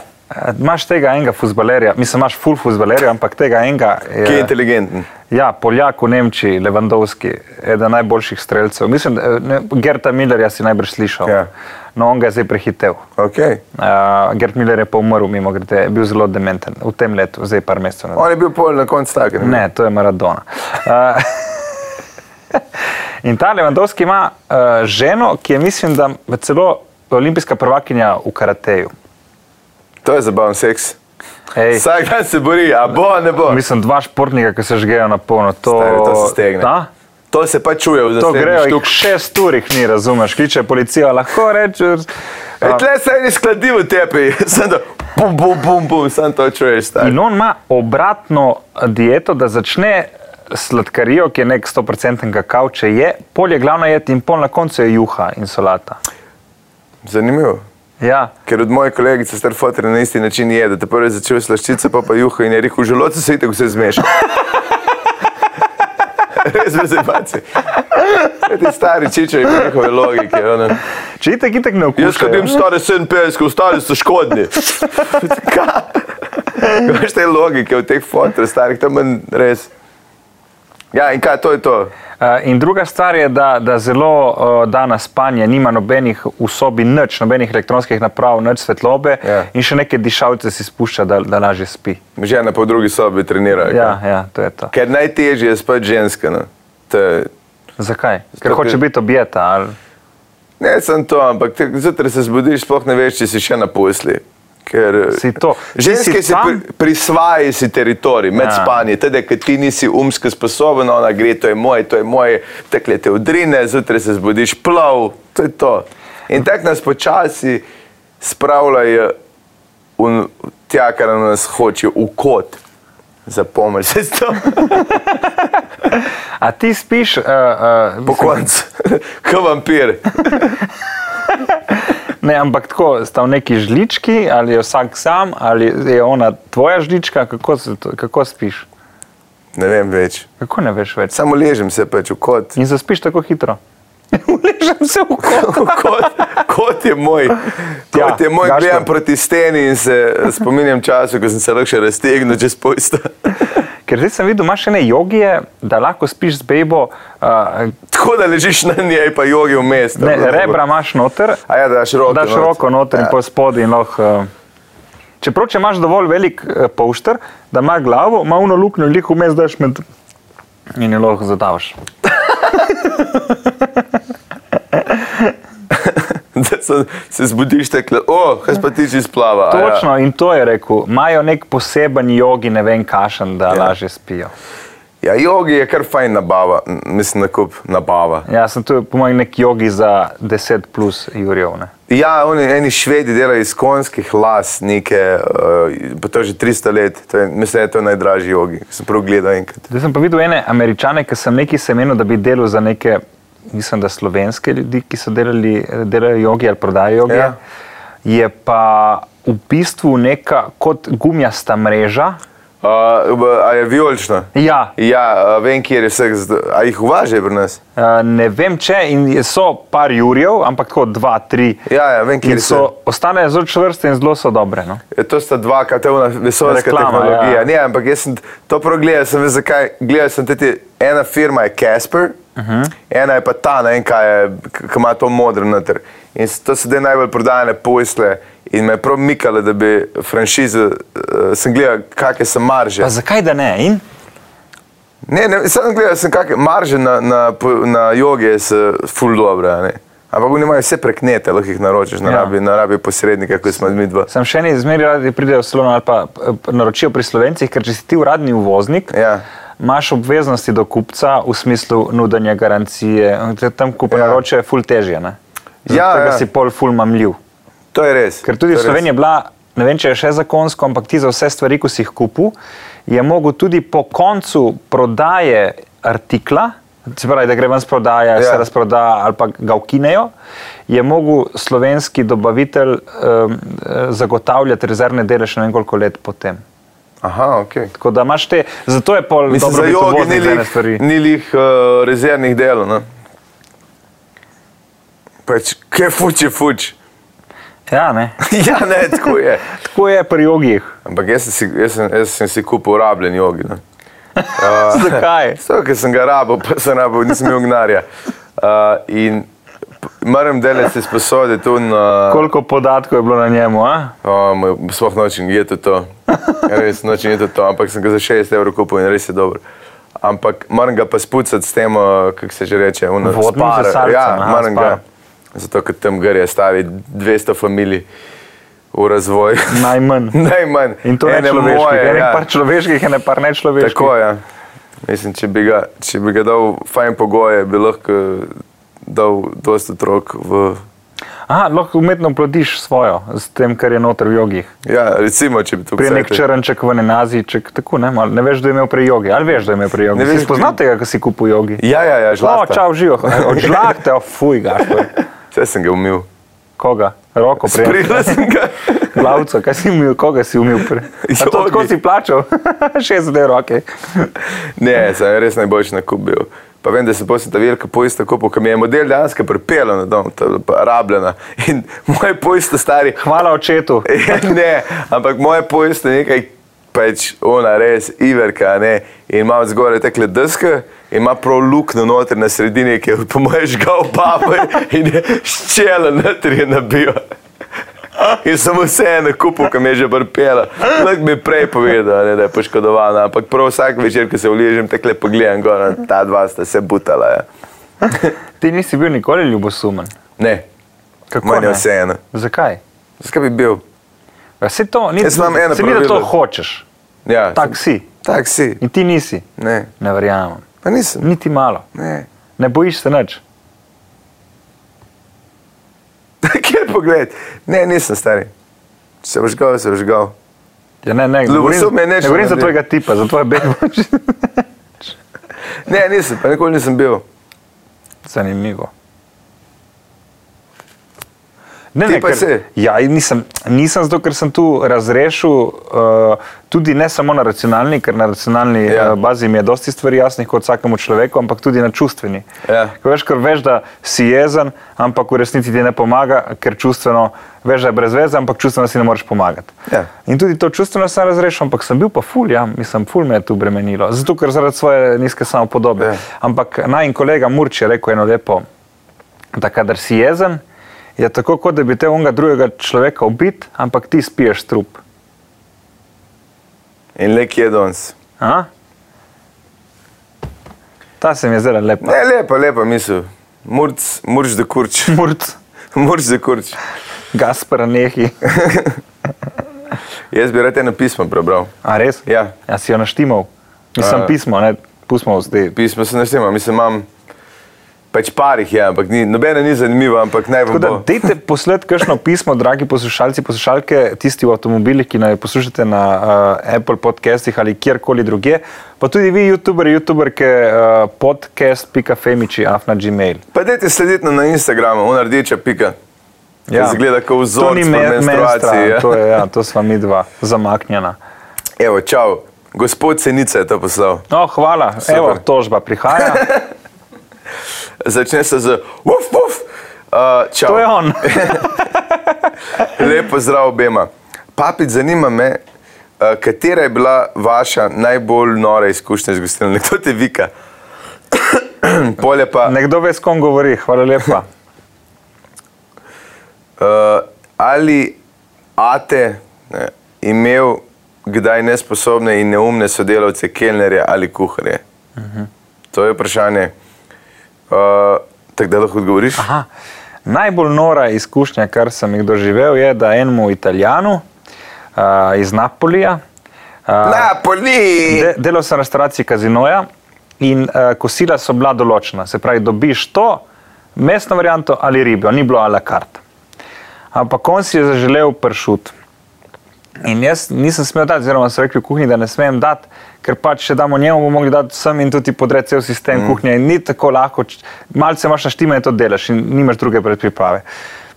Speaker 3: Máš tega enega fusbalerja, mislim, imaš full fusbalerja, ampak tega enega. je-
Speaker 2: Ki je inteligenten.
Speaker 3: Ja, Poljak v Nemčiji, Levandovski, eden najboljših streljcev. Mislim, eh, ne, Gerta Millerja si najbrž slišal.
Speaker 2: Ja.
Speaker 3: No, on ga je zdaj prehitel.
Speaker 2: Okay.
Speaker 3: Uh, Gert Miller je pa umrl, mimo grede, je bil zelo dementen v tem letu, zdaj par mesecev nazaj.
Speaker 2: On je bil pol na koncu tak.
Speaker 3: Ne, to je Maradona. Uh, in ta Levandovski ima uh, ženo, ki je, mislim, da celo olimpijska prvakinja v karateju.
Speaker 2: To je zabaven seks.
Speaker 3: Ej,
Speaker 2: Vsak dan se bori, a bo, ne bo.
Speaker 3: mislim, dva športnika, ki se žgejo na polno. To,
Speaker 2: Stari, to se stegne.
Speaker 3: Da?
Speaker 2: To se pa čuje v
Speaker 3: To grejo
Speaker 2: zasebnem
Speaker 3: štuk. šest urih, ni razumeš, kliče policija, lahko rečeš.
Speaker 2: E, tle se je skladil v tepi, sem da bum, bum, bum, bum, sem to čuješ. stari.
Speaker 3: Eh, In on ima obratno dieto, da začne sladkarijo, ki je nek 100% kakav, če je, polje glavno je in pol na koncu je juha in solata.
Speaker 2: Zanimivo.
Speaker 3: Ja.
Speaker 2: Ker od moje kolegice star fotor na isti način je, da te prvi začel slaščice, pa pa juha in je rekel, v želodcu se itek vse zmeša. Res brez ebacije. Ti stari čičevi po njihove logike. Ono.
Speaker 3: Če itek, itek ne
Speaker 2: Jaz
Speaker 3: okušajo.
Speaker 2: kadim stare 57, ostali so škodni. Kaj? Veš te logike v teh fotor starih, to meni res. Ja, in kaj, to je to.
Speaker 3: Eh, In druga stvar je, da, da zelo uh, da na spanje, nima nobenih v sobi nič, nobenih elektronskih naprav, nič svetlobe
Speaker 2: Ja.
Speaker 3: in še neke dišavce si spušča, da, da lažje spi.
Speaker 2: Žena pa v drugi sobi trenira. kaj?
Speaker 3: Ja, ja, to je to.
Speaker 2: Ker najtežje je spati ženska. No. To je-
Speaker 3: Zakaj? Ker
Speaker 2: Zato,
Speaker 3: hoče
Speaker 2: ker-
Speaker 3: biti objeta. Ali...
Speaker 2: Ne samo to, ampak te- zjutraj se zbudiš, sploh ne veš, če si še na posli. Ker, eh,
Speaker 3: Si to. Ti
Speaker 2: Ženske
Speaker 3: si
Speaker 2: si
Speaker 3: tam?
Speaker 2: pri, prisvajajo si teritorij med
Speaker 3: Ja.
Speaker 2: ja. spanjem, tudi ker ti nisi umsko sposoben, ona gre, to je moje, to je moje, tekle te udrine, zjutraj se zbudiš plav, to je to. In tako nas počasi spravljajo v- tja, kar nas hoče, v kot. Zapomni se to.
Speaker 3: A ti spiš, uh, uh,
Speaker 2: Po koncu, kot vampir.
Speaker 3: ne, ampak tako, sta v neki žlički, ali je vsak sam, ali je ona tvoja žlička, kako, se to, kako spiš?
Speaker 2: Ne vem več.
Speaker 3: Kako ne veš več?
Speaker 2: Samo ležim se pač v kot.
Speaker 3: In zaspiš tako hitro. Uležem se v kotu.
Speaker 2: kot, kot je moj,
Speaker 3: Ja,
Speaker 2: kot je moj
Speaker 3: Gašper.
Speaker 2: gledam proti steni in se eh, spominjam časa, ko sem se lahko še raztegnil čez pojsta.
Speaker 3: Ker zdaj sem videl, imaš še ne jogije, da lahko spiš z bejbo, uh,
Speaker 2: Tako da ležiš na njej, pa jogi vmes.
Speaker 3: ne,
Speaker 2: tako da bo-
Speaker 3: rebra imaš noter,
Speaker 2: A ja, daš roko.
Speaker 3: daš
Speaker 2: not.
Speaker 3: roko noter in
Speaker 2: Ja.
Speaker 3: pol spodaj. in lahko, Uh, čeprav, če imaš dovolj velik uh, pošter, da ima glavo, ima uno luknjo, lih vmes daš med in jo lahko zadavaš.
Speaker 2: Da se, se zbudiš tako, o, kaj pa ti že splava. a ja."
Speaker 3: Točno in to je rekel, imajo nek poseben jogi, ne vem kašen, da ja. lažje spijo.
Speaker 2: Ja, jogi je kar fajn nabava, m, mislim, nakup nabava.
Speaker 3: Ja, sem tu, po mojem, nek jogi za 10 plus jurjev. ne.
Speaker 2: Ja, oni eni švedi delajo iz konjskih las, neke, uh, pa to je že 300 let, to je, mislim, da je to najdražji jogi, ki sem prav gledal enkrat.
Speaker 3: Zdaj sem pa videl ene američane, ki sem neki semenil, da bi delal za neke, mislim, da slovenske ljudi, ki so delali, delajo jogi ali prodajo jogi. Ja.
Speaker 2: Ja.
Speaker 3: Je pa v bistvu neka kot gumijasta mreža.
Speaker 2: Uh, v- a je vijolično?
Speaker 3: Ja,
Speaker 2: Ja, eh, vem, kjer je vseh, zd- a jih uvažajo pri nas.
Speaker 3: eh, ne vem če, in je- so par jurjev, ampak tako dva, tri.
Speaker 2: Ja, ja vem,
Speaker 3: In
Speaker 2: kjer so.
Speaker 3: so, ostane zelo čvrste in zelo so dobre. No?
Speaker 2: Je, E, to sta dva, kaj te vna vesolska
Speaker 3: Razklama,
Speaker 2: tehnologija.
Speaker 3: ja.
Speaker 2: Ja. Ne, ampak jaz sem t- to progledal, sem veš zakaj. Gledal sem tudi, ena firma je Casper, uh
Speaker 3: Mhm.
Speaker 2: -huh. ena je pa ta, ne vem kaj je, k- ki ima to modro noter. In s- to so zdaj najbolj prodajane posle in me je prav mikale, da bi franšize, eh, sem gledal, kakšne so marže.
Speaker 3: Pa zakaj da ne? In?
Speaker 2: Ne, ne, sem gledal, sem kakšne marže na, na, po- na joge so ful dobre. a ne. Ampak oni imajo vse preknete, lahko jih naročiš, na
Speaker 3: Ja.
Speaker 2: rabi, na rabi posrednika, kot smo mi dva.
Speaker 3: Sam še eni zmeri radi pridejo v Slovenijo ali pa eh, naročijo pri Slovencih, ker če si ti uradni uvoznik,
Speaker 2: Ja.
Speaker 3: imaš obveznosti do kupca v smislu nudenja garancije. Te Tam, ko pa ja.
Speaker 2: Ja.
Speaker 3: naročijo, je ful težje. Ne?
Speaker 2: Ja,
Speaker 3: Tega
Speaker 2: ja.
Speaker 3: si pol ful mamljiv.
Speaker 2: To je res.
Speaker 3: Ker tudi
Speaker 2: to je res.
Speaker 3: Slovenija je bila, ne vem, če je še zakonsko, ampak ti za vse stvari, ko si jih kupil, je mogel tudi po koncu prodaje artikla Se pravi, da gre ven s prodaje, ja. se razproda ali pa ga ukinejo, je mogel slovenski dobavitelj um, eh, zagotavljati rezervne dele še nekoliko let potem.
Speaker 2: Aha, ok.
Speaker 3: Tako da imaš te, zato je pol
Speaker 2: Mislim,
Speaker 3: dobro
Speaker 2: za
Speaker 3: biti
Speaker 2: jogi
Speaker 3: uvoznik
Speaker 2: ni
Speaker 3: za ene stvari.
Speaker 2: lih, ni lih uh, rezervnih delov. ne. Pač, kaj fuč je fuč.
Speaker 3: Ja, ne.
Speaker 2: ja, ne, tako je.
Speaker 3: Tako je pri jogih.
Speaker 2: Ampak jaz sem si, jaz sem, jaz sem si kupil rabljen jogi. ne. Ja.
Speaker 3: Zakaj?
Speaker 2: Vse, ki sem ga rabo, pa sem rabo, nisem imel gnara. Uh, in p- moram delati se sposode tu na.
Speaker 3: Koliko podatkov je bilo na njemu? A?
Speaker 2: Um, sploh nočem jeti to, Ja, res nočem jeti to, ampak sem ga za 6 evrov kupil in res je dobro. Ampak moram ga pa spucati s tem, eh, kako se že reče, uno,
Speaker 3: Vodnim sesalcem,
Speaker 2: ja,
Speaker 3: aha,
Speaker 2: moram
Speaker 3: spar.
Speaker 2: ga. Zato, ker tam gre, stavi 200 familij v razvoj.
Speaker 3: Najmanj.
Speaker 2: Najmanj.
Speaker 3: In to je
Speaker 2: Ene
Speaker 3: človeških, moje, ene ja.
Speaker 2: ja.
Speaker 3: par človeških, ene par nečloveških.
Speaker 2: Tako je. Ja. Mislim, če bi, ga, če bi ga dal fajn pogoje, bi lahko dal dosta otrok v.
Speaker 3: Aha, lahko umetno plodiš svojo, s tem, kar je noter v jogih.
Speaker 2: Ja, recimo, če bi to
Speaker 3: Pri nek črnček, v nenaziček, tako ne, malo. ne veš, da je imel pri jogi. Ali veš, da je imel pri jogi?
Speaker 2: Ne
Speaker 3: Ne veš,
Speaker 2: veš,
Speaker 3: spoznal tega, ko si kupil jogi.
Speaker 2: Ja, ja, ja,
Speaker 3: Zelo
Speaker 2: žlahta.
Speaker 3: čau, živo. Odžlakte, fuj, gašpor.
Speaker 2: Vse sem ga umil.
Speaker 3: Koga? Roko prej.
Speaker 2: Prijel sem ga.
Speaker 3: Glavco, kaj si umil, koga si umil prej? A to
Speaker 2: Jogi.
Speaker 3: tako si plačal? 60 roke.
Speaker 2: ne, sem res najboljši na kup bil. Pa vem, da se posem ta velika pojsta kupil, ki mi je model dejansko pripela na dom, ta je bila pa rabljena. In moje pojsta stari,
Speaker 3: Hvala očetu.
Speaker 2: Ja, ne, ampak moje pojsta nekaj, pač ona res, iverka, ne. In ima od zgoraj tekle deske, ima prav luknjo noter na sredini, ki je po mojem žgal babo in je ščela noter je nabil. In sem vseeno kupil, kam je že brpela. Lahko bi prej povedal, ne, da je poškodovana, ampak prav vsak večer, ko se uležem, tekle pogledam gor, ta dva sta se butala. Ja.
Speaker 3: Ti nisi bil nikoli ljubosumen.
Speaker 2: Ne,
Speaker 3: Kako
Speaker 2: meni je
Speaker 3: ne?
Speaker 2: vseeno.
Speaker 3: Zakaj?
Speaker 2: Zakaj bi bil?
Speaker 3: Ja, Se to ni,
Speaker 2: Jaz imam eno
Speaker 3: se ni, da to
Speaker 2: pravilo.
Speaker 3: hočeš.
Speaker 2: Ja,
Speaker 3: Tak si.
Speaker 2: Tak si.
Speaker 3: In ti nisi.
Speaker 2: Ne,
Speaker 3: Ne verjamem.
Speaker 2: pa nisem.
Speaker 3: Niti malo.
Speaker 2: Ne.
Speaker 3: Ne bojiš se nič.
Speaker 2: Kjer pogled? Ne, nisem stari. Se boš gal, se boš gal.
Speaker 3: Ja, ne, ne, govorim,
Speaker 2: Ljubosumje
Speaker 3: ne
Speaker 2: nič ne
Speaker 3: govorim za
Speaker 2: naredi.
Speaker 3: tvojega tipa, za tvoje bebe.
Speaker 2: Ne, nisem, pa nikoli nisem bil.
Speaker 3: Zanimivo. Ne,
Speaker 2: Ti pa
Speaker 3: ker-
Speaker 2: si.
Speaker 3: ja, in nisem, nisem zato, ker sem tu razrešil, uh, tudi ne samo na racionalni, ker na racionalni ja.
Speaker 2: Ja.
Speaker 3: uh, bazi mi je dosti stvari jasnih kot vsakemu človeku, ampak tudi na čustveni.
Speaker 2: Ja.
Speaker 3: Ko veš, ker veš, da si jezen, ampak v resnici ti ne pomaga, ker čustveno veš, da je brez veze, ampak čustveno si ne moreš pomagati.
Speaker 2: Ja.
Speaker 3: In tudi to čustveno sem razrešil, ampak sem bil pa ful, ja, mislim, ful me je tu bremenilo, zato ker zaradi svoje nizke samopodobe.
Speaker 2: Ja.
Speaker 3: Ampak naj in kolega Murč je rekel eno lepo, da kadar si jezen, je tako, kot da bi te unga drugega človeka ubit, ampak ti spiješ trup.
Speaker 2: In le kje je danes.
Speaker 3: A? Ta se mi je zelo lepa.
Speaker 2: Ne, lepa, lepa misel. Murc, murč da kurč.
Speaker 3: Murc,
Speaker 2: Murč da kurč.
Speaker 3: Gaspar, nehi.
Speaker 2: Jaz bi rad eno pismo prebral.
Speaker 3: A res?
Speaker 2: Ja.
Speaker 3: ja si jo naštimal. Mislim,
Speaker 2: A.
Speaker 3: pismo, ne, pustimo zdaj.
Speaker 2: Pismo se naštima, mislim, imam pač parih, ja, ampak ni, nobena ni zanimiva, ampak naj
Speaker 3: Tako
Speaker 2: vam
Speaker 3: da,
Speaker 2: bo.
Speaker 3: dajte poslati kakšno pismo, dragi poslušalci, poslušalke, tisti v avtomobilih, ki naj poslušate na uh, Apple podcastih ali kjerkoli druge, pa tudi vi, YouTuberi, YouTuberke, uh, podcast.femiči, afna gmail.
Speaker 2: Pa dajte slediti nam na Instagramu, unardeča pika. Ja. Zgleda kot
Speaker 3: To
Speaker 2: vzor
Speaker 3: ni
Speaker 2: pri
Speaker 3: me-
Speaker 2: menstruaciji.
Speaker 3: menstran,
Speaker 2: Ja.
Speaker 3: to je, ja, to sva mi dva, zamaknjena.
Speaker 2: Evo, čau. Gospod Senica je to poslal.
Speaker 3: No, hvala, Super. evo, tožba prihaja,
Speaker 2: Začne se z uf, uf. Uh, čau.
Speaker 3: to je on.
Speaker 2: Lep pozdrav obema. Papič, zanima me, eh, katera je bila vaša najbolj nora izkušnja z gostilno? Kdo te vika? Polje pa, uh,
Speaker 3: Nekdo ve, s kom govori, hvala lepa.
Speaker 2: uh, ali ate ne, imel kdaj nesposobne in neumne sodelavce, kelnerje ali kuharje? Uh
Speaker 3: Mhm.
Speaker 2: -huh. To je vprašanje. Uh, Tako da lahko odgovoriš?
Speaker 3: Aha. Najbolj nora izkušnja, kar sem jih doživel, je, da enemu Italijanu uh, iz Napolija, uh,
Speaker 2: Napoli!
Speaker 3: de, delal sem v restavraciji Kazinoja in uh, kosila so bila določena. Se pravi, dobiš to, mesno varianto ali ribijo, ni bilo a la carte. Ampak on si je zaželel pršut. In jaz nisem smel dati, oziroma so rekli v kuhinji, da ne smem dati, ker pač če damo njemu, bomo mogli dati sem in tudi podreti cel sistem mm. kuhnje. In ni tako lahko, č- malce imaš naštima in to delaš in nimaš druge predpriprave.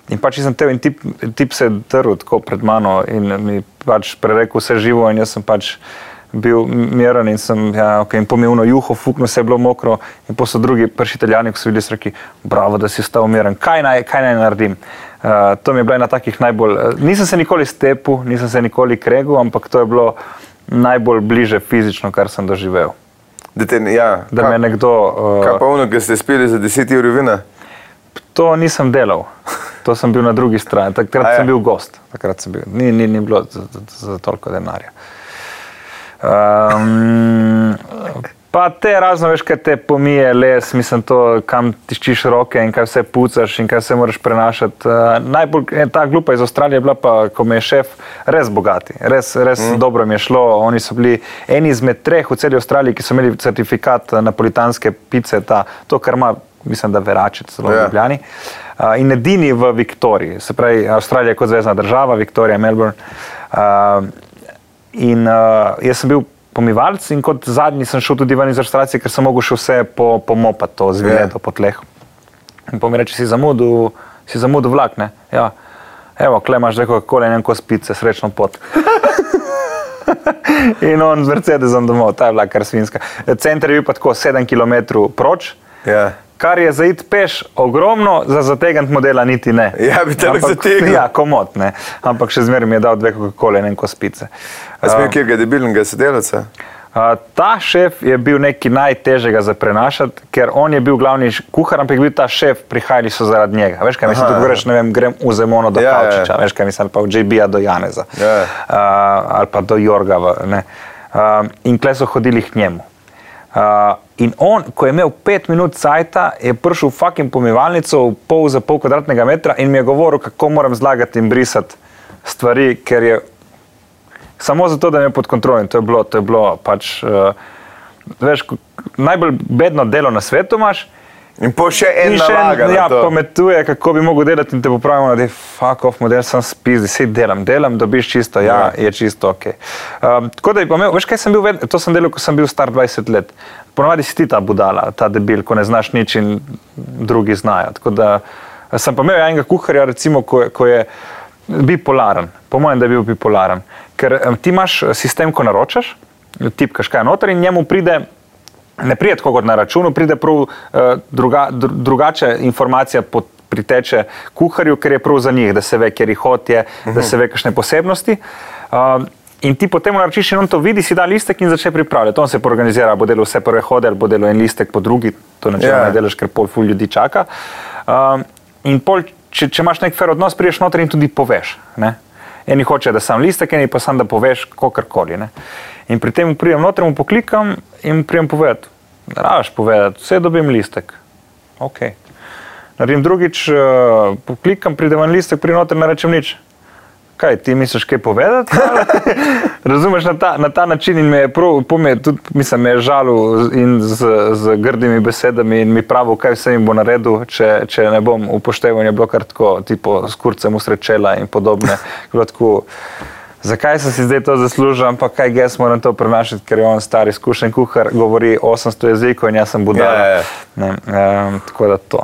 Speaker 3: In pač jaz sem te in tip, tip se je drl tako pred mano in mi pač prerekel vse živo in jaz sem pač bil miren in sem ja, okay, in pomilno juho, fuknil se je bilo mokro in pa so drugi prši italijani, ki so bili srki, bravo, da si stal miren, kaj naj, kaj naj naredim. Uh, to mi je bila ena takih najbolj, uh, nisem se nikoli stepu, nisem se nikoli kregel, ampak to je bilo najbolj bliže fizično, kar sem doživel.
Speaker 2: Da, te, ja,
Speaker 3: Da
Speaker 2: kaj-
Speaker 3: me nekdo,
Speaker 2: Kaj
Speaker 3: uh,
Speaker 2: pa ono, ki ste spili za 10 ur vina?
Speaker 3: to nisem delal, to sem bil na drugi strani,
Speaker 2: A
Speaker 3: takrat
Speaker 2: ja.
Speaker 3: sem bil gost, takrat sem bil, ni, ni, ni bilo za, za, za toliko denarja. Um, pa te razno veš, kaj te pomije les, mislim, to, kam tiščiš roke in kaj vse pucaš in kaj se moraš prenašati. Uh, najbolj eh, ta glupa iz Avstralije je bila pa, ko me je šef res bogati, res, res
Speaker 2: Mhm.
Speaker 3: mm. dobro mi je šlo. Oni so bili eni izmed treh v celi Avstraliji, ki so imeli certifikat eh, napolitanske pice, ta, to, kar ima, mislim, da veračec celo
Speaker 2: Ja.
Speaker 3: yeah. Ljubljani. Uh, in edini v Viktoriji, se pravi Avstralija kot zvezdna država, Viktorija, Melbourne. Uh, In uh, jaz sem bil pomivalec, in kot zadnji sem šel tudi ven iz restavracije, ker sem mogel še vse po, pomopati, to zvijeto
Speaker 2: Ja.
Speaker 3: po tleh. In pa mi reče, si zamudil, si zamudil vlak, ne? Ja. Evo, klemaš reko, kole in en kos pice, srečno pot. in on z Mercedesom domov, ta je bila kar svinska. Center je bil pa tako 7 km proč.
Speaker 2: Ja.
Speaker 3: Kar je za id peš ogromno, za zategant modela niti ne.
Speaker 2: Ja, bi tako
Speaker 3: Ampak-
Speaker 2: zategnil.
Speaker 3: Ja, komotne. Ampak še zmeraj mi je dal dve Coca-Cole in en kos pice.
Speaker 2: A
Speaker 3: Ja.
Speaker 2: smo kjer ga debilnega sodelavca?
Speaker 3: A, Ta šef je bil nekaj najtežjega za prenašati, ker on je bil glavni š- kuhar, ampak je bil ta šef, prihajali so zaradi njega. Veš kaj, mislim,
Speaker 2: Aha,
Speaker 3: da greš, ne vem, grem v Zemono do
Speaker 2: Ja,
Speaker 3: ja,
Speaker 2: ja, ja.
Speaker 3: Kavčiča, veš kaj, mislim, ali pa v JB-ja do Janeza
Speaker 2: Ja, ja.
Speaker 3: uh, ali pa do Jorga. v- ne. Uh, in kle so hodili k njemu. Uh, in on, ko je imel pet minut cajta, je prišel v fucking pomivalnico, v pol za pol kvadratnega metra in mi je govoril, kako moram zlagati in brisati stvari, ker je samo zato, da me je pod kontrolo. In to je bilo, to je bilo pač, uh, veš, ko- najbolj bedno delo na svetu imaš.
Speaker 2: In po še en
Speaker 3: In še
Speaker 2: nalaga. na
Speaker 3: ja,
Speaker 2: to.
Speaker 3: pametuje, kako bi mogel delati in te popravimo, da je fuck off model, sem spizdi, sej delam, delam, dobiš čisto, ja, je čisto ok. Um, tako da bi pa imel, veš kaj sem bil, ved- to sem delal, ko sem bil star 20 let. Ponovadi si ti ta budala, ta debil, ko ne znaš nič in drugi znajo. Tako da sem pa imel ja enega kuharja, recimo, ko, je- ko je bipolaren, po mojem, da je bil bipolaren. Ker em, ti imaš eh, sistem, ko naročaš, tipkaš kaj noter in njemu pride ne pride tako kot na računu, pride prav uh, druga, dru, drugače informacija pot, priteče kuharju, ker je prav za njih, da se ve, kjer jih hod je, uh -huh. da se ve, kakšne posebnosti. Um, In ti potem naročiš in on to vidi, si da listek in začne pripravljati. On se poorganizira, ali bo delal vse prve hode, ali bo delal en listek po drugi, to načeloma
Speaker 2: Ja.
Speaker 3: yeah. ne delaš, ker pol ful ljudi čaka. Um, in pol, če, če imaš nek fer odnos, priješ noter in tudi poveš. Ne? Eni hoče, da sam listek, eni pa sam, da poveš kakorkoli. Ne? In pri tem prijem noter, mu poklikam in mu prijem povedati. "Ne Rabiš povedati, vse dobim listek. Ok. Naredim drugič, eh, poklikam, pride ven listek, prijem noter, ne rečem nič. Kaj ti misliš, kaj povedati? ali? Razumeš na ta, na ta način in me je, prav, pol me je tudi, mislim, me je žalil in z, z grdimi besedami in mi pravil, kaj vse jim bo naredil, če, če ne bom upošteval. Je bilo kar tako, tipo, s kurcem usrečela in podobne. Je bilo Tako, zakaj sem si zdaj to zaslužil, ampak kaj jaz moram to prenašati, ker je on star izkušen kuhar, govori 800 jezikov in jaz sem budal.
Speaker 2: Ja, ja, ja.
Speaker 3: um, tako da to.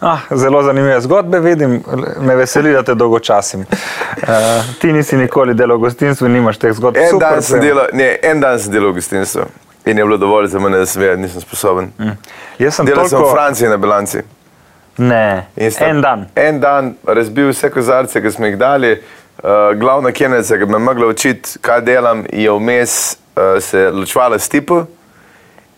Speaker 3: Ah, zelo zanimive zgodbe vidim, me veseli, da te dolgočasim. Uh, ti nisi nikoli delal v gostinstvu, nimaš teh zgodb.
Speaker 2: En
Speaker 3: Super,
Speaker 2: dan, sem
Speaker 3: vem.
Speaker 2: delal, ne, en dan sem delal v gostinstvu in je bilo dovolj za mene, da sem vedel, da nisem sposoben. Mm.
Speaker 3: Jaz sem
Speaker 2: Delal sem v
Speaker 3: toliko-
Speaker 2: Franciji na bilanci.
Speaker 3: Ne,
Speaker 2: In sta-
Speaker 3: en dan.
Speaker 2: En dan razbil vse kozarce, ki smo jih dali, uh, glavna kenica, ki bi me mogla učiti, kaj delam, je vmes uh, se ločvala s tipom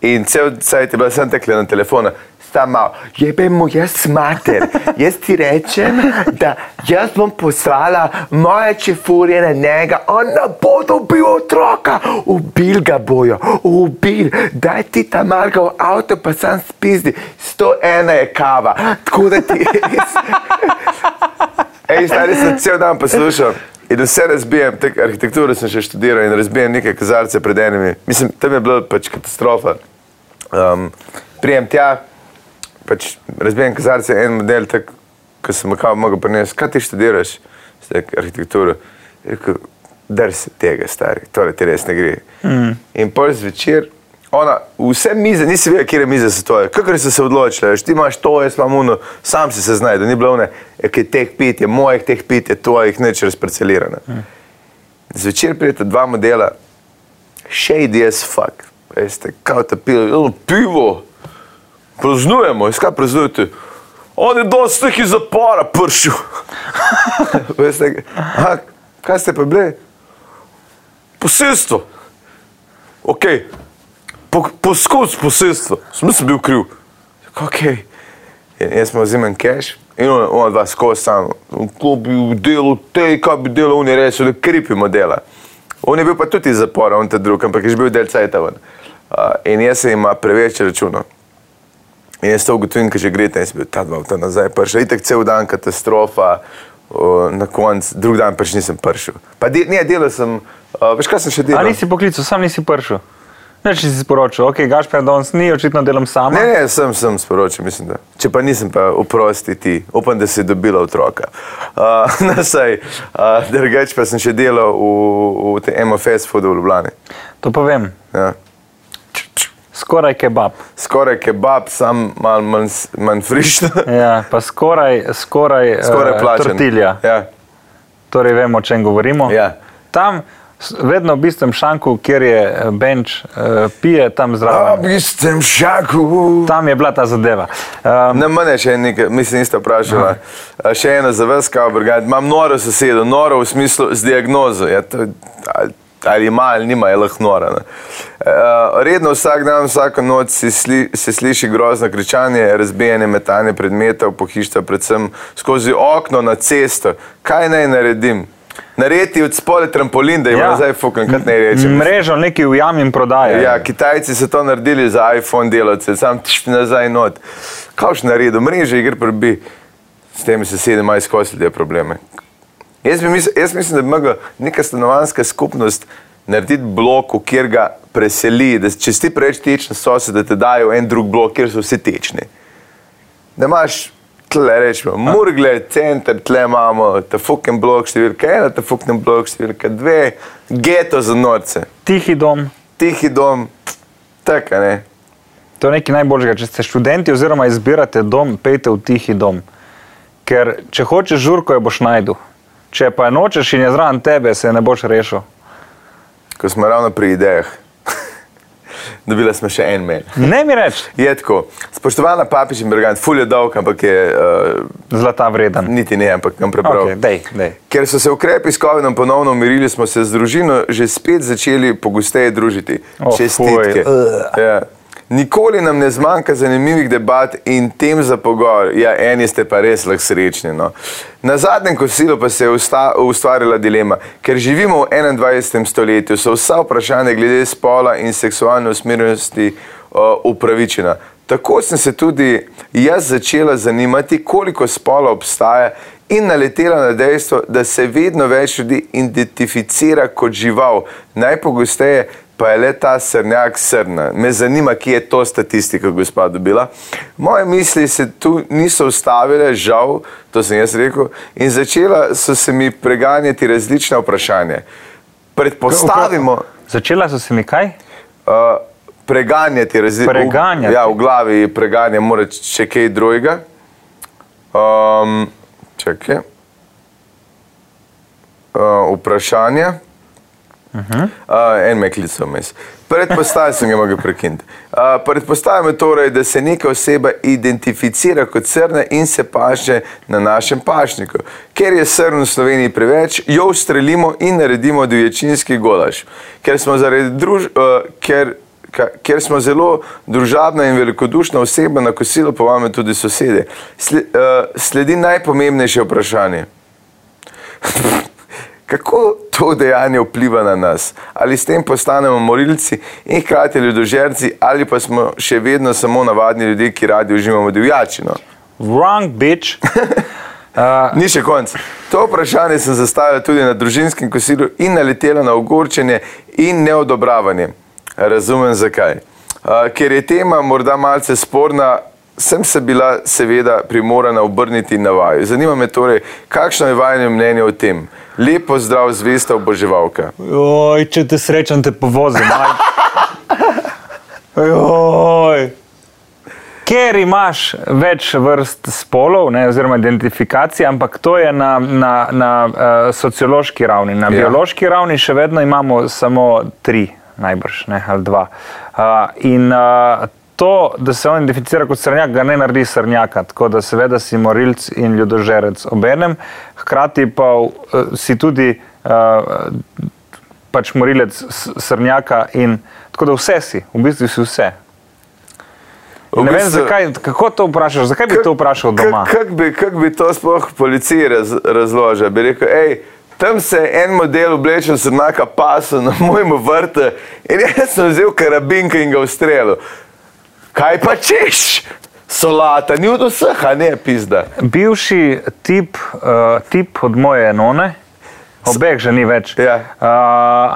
Speaker 2: in cel cajt je bila sem tekla na telefona. Sama, jebe mu jaz mater, jaz ti rečem, da jaz bom poslala moje čefurje na njega, on ne bo dobil otroka, ubil ga bojo, ubil, daj ti ta marga v avto, pa sam spizdi, 101 je kava, tako da ti res. Ej, stari sem cel dan poslušal. In vse razbijem, tak, arhitekturo sem še študiral in razbijem neke kazalce pred enimi. Mislim, tam je bila pač katastrofa. Um, prijem tja, pač razbijem kazalce, en model, tak, ko sem ga kao mogel prenesti. Kaj ti študiraš? Zdaj, arhitekturo. Je Rekel, drsi tega, stari, torej ti res ne gre. Mm. In pol zvečer, ona, vse mize, nisi vedel, kje mize so tvoje, kakor so se odločile, veš, ti imaš to, jaz imam uno, sam si se znajdel, ni bilo ne, ki teh pit je mojih, teh pit je tvojih, neč razparcelirane. Mm. Zvečer prideta dva modela, shady as fuck, veste, kao ta pivo, pivo, praznujemo, iskaj praznujete. On je dosti teh iz zapora pršil. Veste, aha, kaj ste pa bili? Posilstvo. Ok, po, poskus posilstva, sem bil kriv. Ok, in jaz smo vzimem cash. In on, on dva skozi sam, ko bi delal te, kaj bi delal, on je rekel, da kripimo dela. On je bil pa tudi iz zapora, on ta drug, ampak je že bil del cajta ven. Uh, in jaz sem ima preveč računov. In jaz to ugotovim, ker že gre tam, jaz sem bil ta dva avta nazaj, prša, itek cel dan katastrofa, uh, na koncu, drug dan pač nisem pršel. Pa de, ne, delal sem, uh, veš kaj sem še
Speaker 3: A
Speaker 2: delal?
Speaker 3: nisi poklical, sam nisi prišel. Ne, če si sporočil, ok, Gašper danes ni, očitno delam sama.
Speaker 2: Ne, ne, sem, sem sporočil, mislim, da. Če pa nisem, pa oprosti ti, upam, da si dobila otroka. Uh, na saj, uh, drugače pa sem še delal v, v tem MFS fodu v Ljubljani.
Speaker 3: To pa vem,
Speaker 2: Ja.
Speaker 3: skoraj kebab.
Speaker 2: Skoraj kebab, sam malo manj, s- manj frišno,
Speaker 3: Ja, pa skoraj, skoraj,
Speaker 2: skoraj
Speaker 3: eh,
Speaker 2: plačen.
Speaker 3: tortilja.
Speaker 2: Ja,
Speaker 3: Torej vemo, o čem govorimo.
Speaker 2: Ja.
Speaker 3: Tam, s- vedno v istem šanku, kjer je eh, bench, eh, pije tam
Speaker 2: A,
Speaker 3: zraven.
Speaker 2: sem šaku. uh,
Speaker 3: Tam je bila ta zadeva. Um,
Speaker 2: Ne, mene še nekaj, mislim, niste vprašali. A, Še ena zavrzka, imam noro sosedo, noro v smislu z diagnozo. Ja, to, ali, ali ima ali nima, je lahko nora. ne. Eh, Redno vsak dan, vsako noč se, sli, se sliši grozno kričanje, razbijanje, metanje predmetov, pohištva, predvsem skozi okno na cesto. Kaj naj naredim? Narediti od spole trampolin, da jim ja. nazaj fukam, kaj naj rečem.
Speaker 3: Mrežo neki ujamem in prodajam.
Speaker 2: Ja, Kitajci so to naredili za iPhone delavce, sam tišti nazaj not. Kaj še naredil, mreže igr prebi, s temi sosedi imajo izkosili probleme. Jaz, bi misl, jaz mislim, da bi mogla neka stanovanska skupnost narediti blok, v kjer ga preseli, da če si preveč tečen sosed, da te dajo v en drug blok, kjer so vsi tečni. Da imaš tle, rečemo, Murgle, center, tle imamo, ta fucking blok številka ena, ta fucking blok številka dve, geto za norce
Speaker 3: Tihi dom.
Speaker 2: tihi dom, tako a ne.
Speaker 3: To je nekaj najboljšega. Če ste študenti oziroma izbirate dom, pejte v tihi dom. Ker če hočeš žurko, jo boš najdel. Če pa je nočeš in je zraven tebe, se je ne boš rešil.
Speaker 2: Ko smo ravno pri idejah, dobila smo še en mail.
Speaker 3: Ne mi reči,
Speaker 2: Je tako, spoštovana papiž in brigant, ful je dolg, ampak je, uh,
Speaker 3: zlata vreden.
Speaker 2: niti ne, ampak nam prebral.
Speaker 3: Okay, dej, dej.
Speaker 2: Ker so se ukrepi s COVID-om ponovno umirili, smo se z družino že spet začeli pogosteje družiti.
Speaker 3: O,
Speaker 2: Čestitke.
Speaker 3: fuj.
Speaker 2: Ja. Nikoli nam ne zmanjka zanimivih debat in tem za pogovor. Ja, eni ste pa res lahko srečni. No. Na zadnjem kosilu pa se je usta, ustvarila dilema, ker živimo v 21. stoletju, so vsa vprašanja glede spola in seksualne usmerjenosti uh, upravičena. Tako sem se tudi jaz začela zanimati, koliko spola obstaja in naletela na dejstvo, da se vedno več ljudi identificira kot žival, najpogosteje pa je le ta srnjak srna. Me zanima, kje je to statistika, gospa dobila. Moje misli se tu niso ustavile, žal, to sem jaz rekel, in začela so se mi preganjati različna vprašanja. Predpostavimo,
Speaker 3: Začela so se mi kaj?
Speaker 2: uh, preganjati različne
Speaker 3: Preganjati.
Speaker 2: Ja, v glavi preganja, mora če kaj drugega. Um, čakaj. Uh, vprašanje. Uh, en me klical vmes. Predpostavljam, sem ga mogel prekiniti. Uh, predpostavljam torej, da se neka oseba identificira kot srna in se paše na našem pašniku. Ker je srn v Sloveniji preveč, jo ustrelimo in naredimo divjačinski golaž. Ker smo, zaradi druž, uh, ker, ka, ker smo zelo družabna in velikodušna oseba, na kosilo povabimo tudi sosede. Sle, uh, sledi najpomembnejše vprašanje. Kako to dejanje vpliva na nas? Ali s tem postanemo morilci in hkrati ljudožerci, ali pa smo še vedno samo navadni ljudje, ki radi uživamo divjačino?
Speaker 3: Wrong bitch.
Speaker 2: Ni še konc. To vprašanje sem zastavila tudi na družinskem kosilu in naletela na ogorčenje in neodobravanje. Razumem zakaj. Uh, Ker je tema morda malce sporna, sem se bila seveda primorana obrniti na vaju. Zanima me torej, kakšno je vajno mnenje o tem? Lepo zdrav, zvesta oboževalka.
Speaker 3: Oj, če te srečam, te povozim. Oj. Ker imaš več vrst spolov, ne, oziroma identifikacij, ampak to je na, na, na uh, sociološki ravni. Na ja. biološki ravni še vedno imamo samo tri, najbrž, ne, ali dva. Uh, in uh, to, da se on identificira kot srnjak, ga ne naredi srnjaka, tako da seveda si morilc in ljudožerec obenem, hkrati pa uh, si tudi uh, pač morilec s- srnjaka in tako da vse si, v bistvu si vse.
Speaker 2: V
Speaker 3: Ne vem,
Speaker 2: bistvu-
Speaker 3: zakaj, kako to vprašaš, zakaj bi to vprašal doma?
Speaker 2: Kako bi, kak bi to sploh policiji raz, razložil? Bi rekel, hej, tam se je en model oblečen s enaka pasu na mojem vrtu in jaz sem vzel karabinko in ga ustrelil. Kaj pa češ? Solata, ni od vseh, a ne pizda.
Speaker 3: Bivši tip, uh, tip od moje enone, obeh že ni več,
Speaker 2: Ja.
Speaker 3: uh,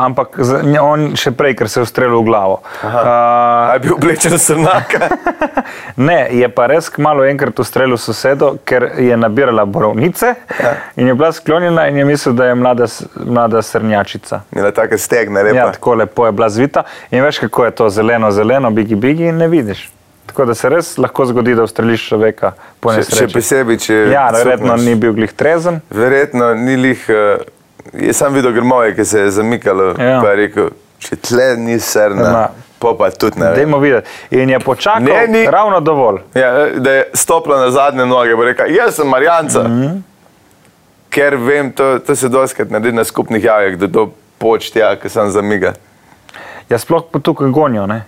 Speaker 3: ampak z- nj- on še prej, ker se je ustrelil v glavo. Uh,
Speaker 2: A je bil oblečen s enaka?
Speaker 3: Ne, je pa res kmalo enkrat ustrelil sosedo, ker je nabirala borovnice
Speaker 2: Ja.
Speaker 3: in je bila sklonjena in je mislil, da je mlada, s- mlada srnjačica.
Speaker 2: Imela take stegne,
Speaker 3: Ja,
Speaker 2: repa.
Speaker 3: tako lepo je bila zvita in veš, kako je to zeleno, zeleno, bigi, bigi in ne vidiš. Tako da se res lahko zgodi, da ustreliš človeka po
Speaker 2: Še, še
Speaker 3: nesreči.
Speaker 2: posebej, če.
Speaker 3: Ja, verjetno
Speaker 2: cukneš.
Speaker 3: ni bil glih trezen.
Speaker 2: Verjetno ni lih. eh, Jaz sem videl grmoje, ki se je zamikalo.
Speaker 3: Ja.
Speaker 2: Ja. Pa je rekel, če tle ni
Speaker 3: Ne.
Speaker 2: srna, pa pa tudi ne. vem.
Speaker 3: Dajmo videti. In je počakal
Speaker 2: Ne, ni-
Speaker 3: ravno dovolj.
Speaker 2: Ja, da je stopila na zadnje noge, bo rekla, jaz sem Marjanca. Mm
Speaker 3: Mhm.
Speaker 2: -hmm. Ker vem, to, to se doskrat naredi na skupnih javah, da to počti, ja, ki sem zamiga.
Speaker 3: Ja, sploh pa tukaj gonijo. Ne?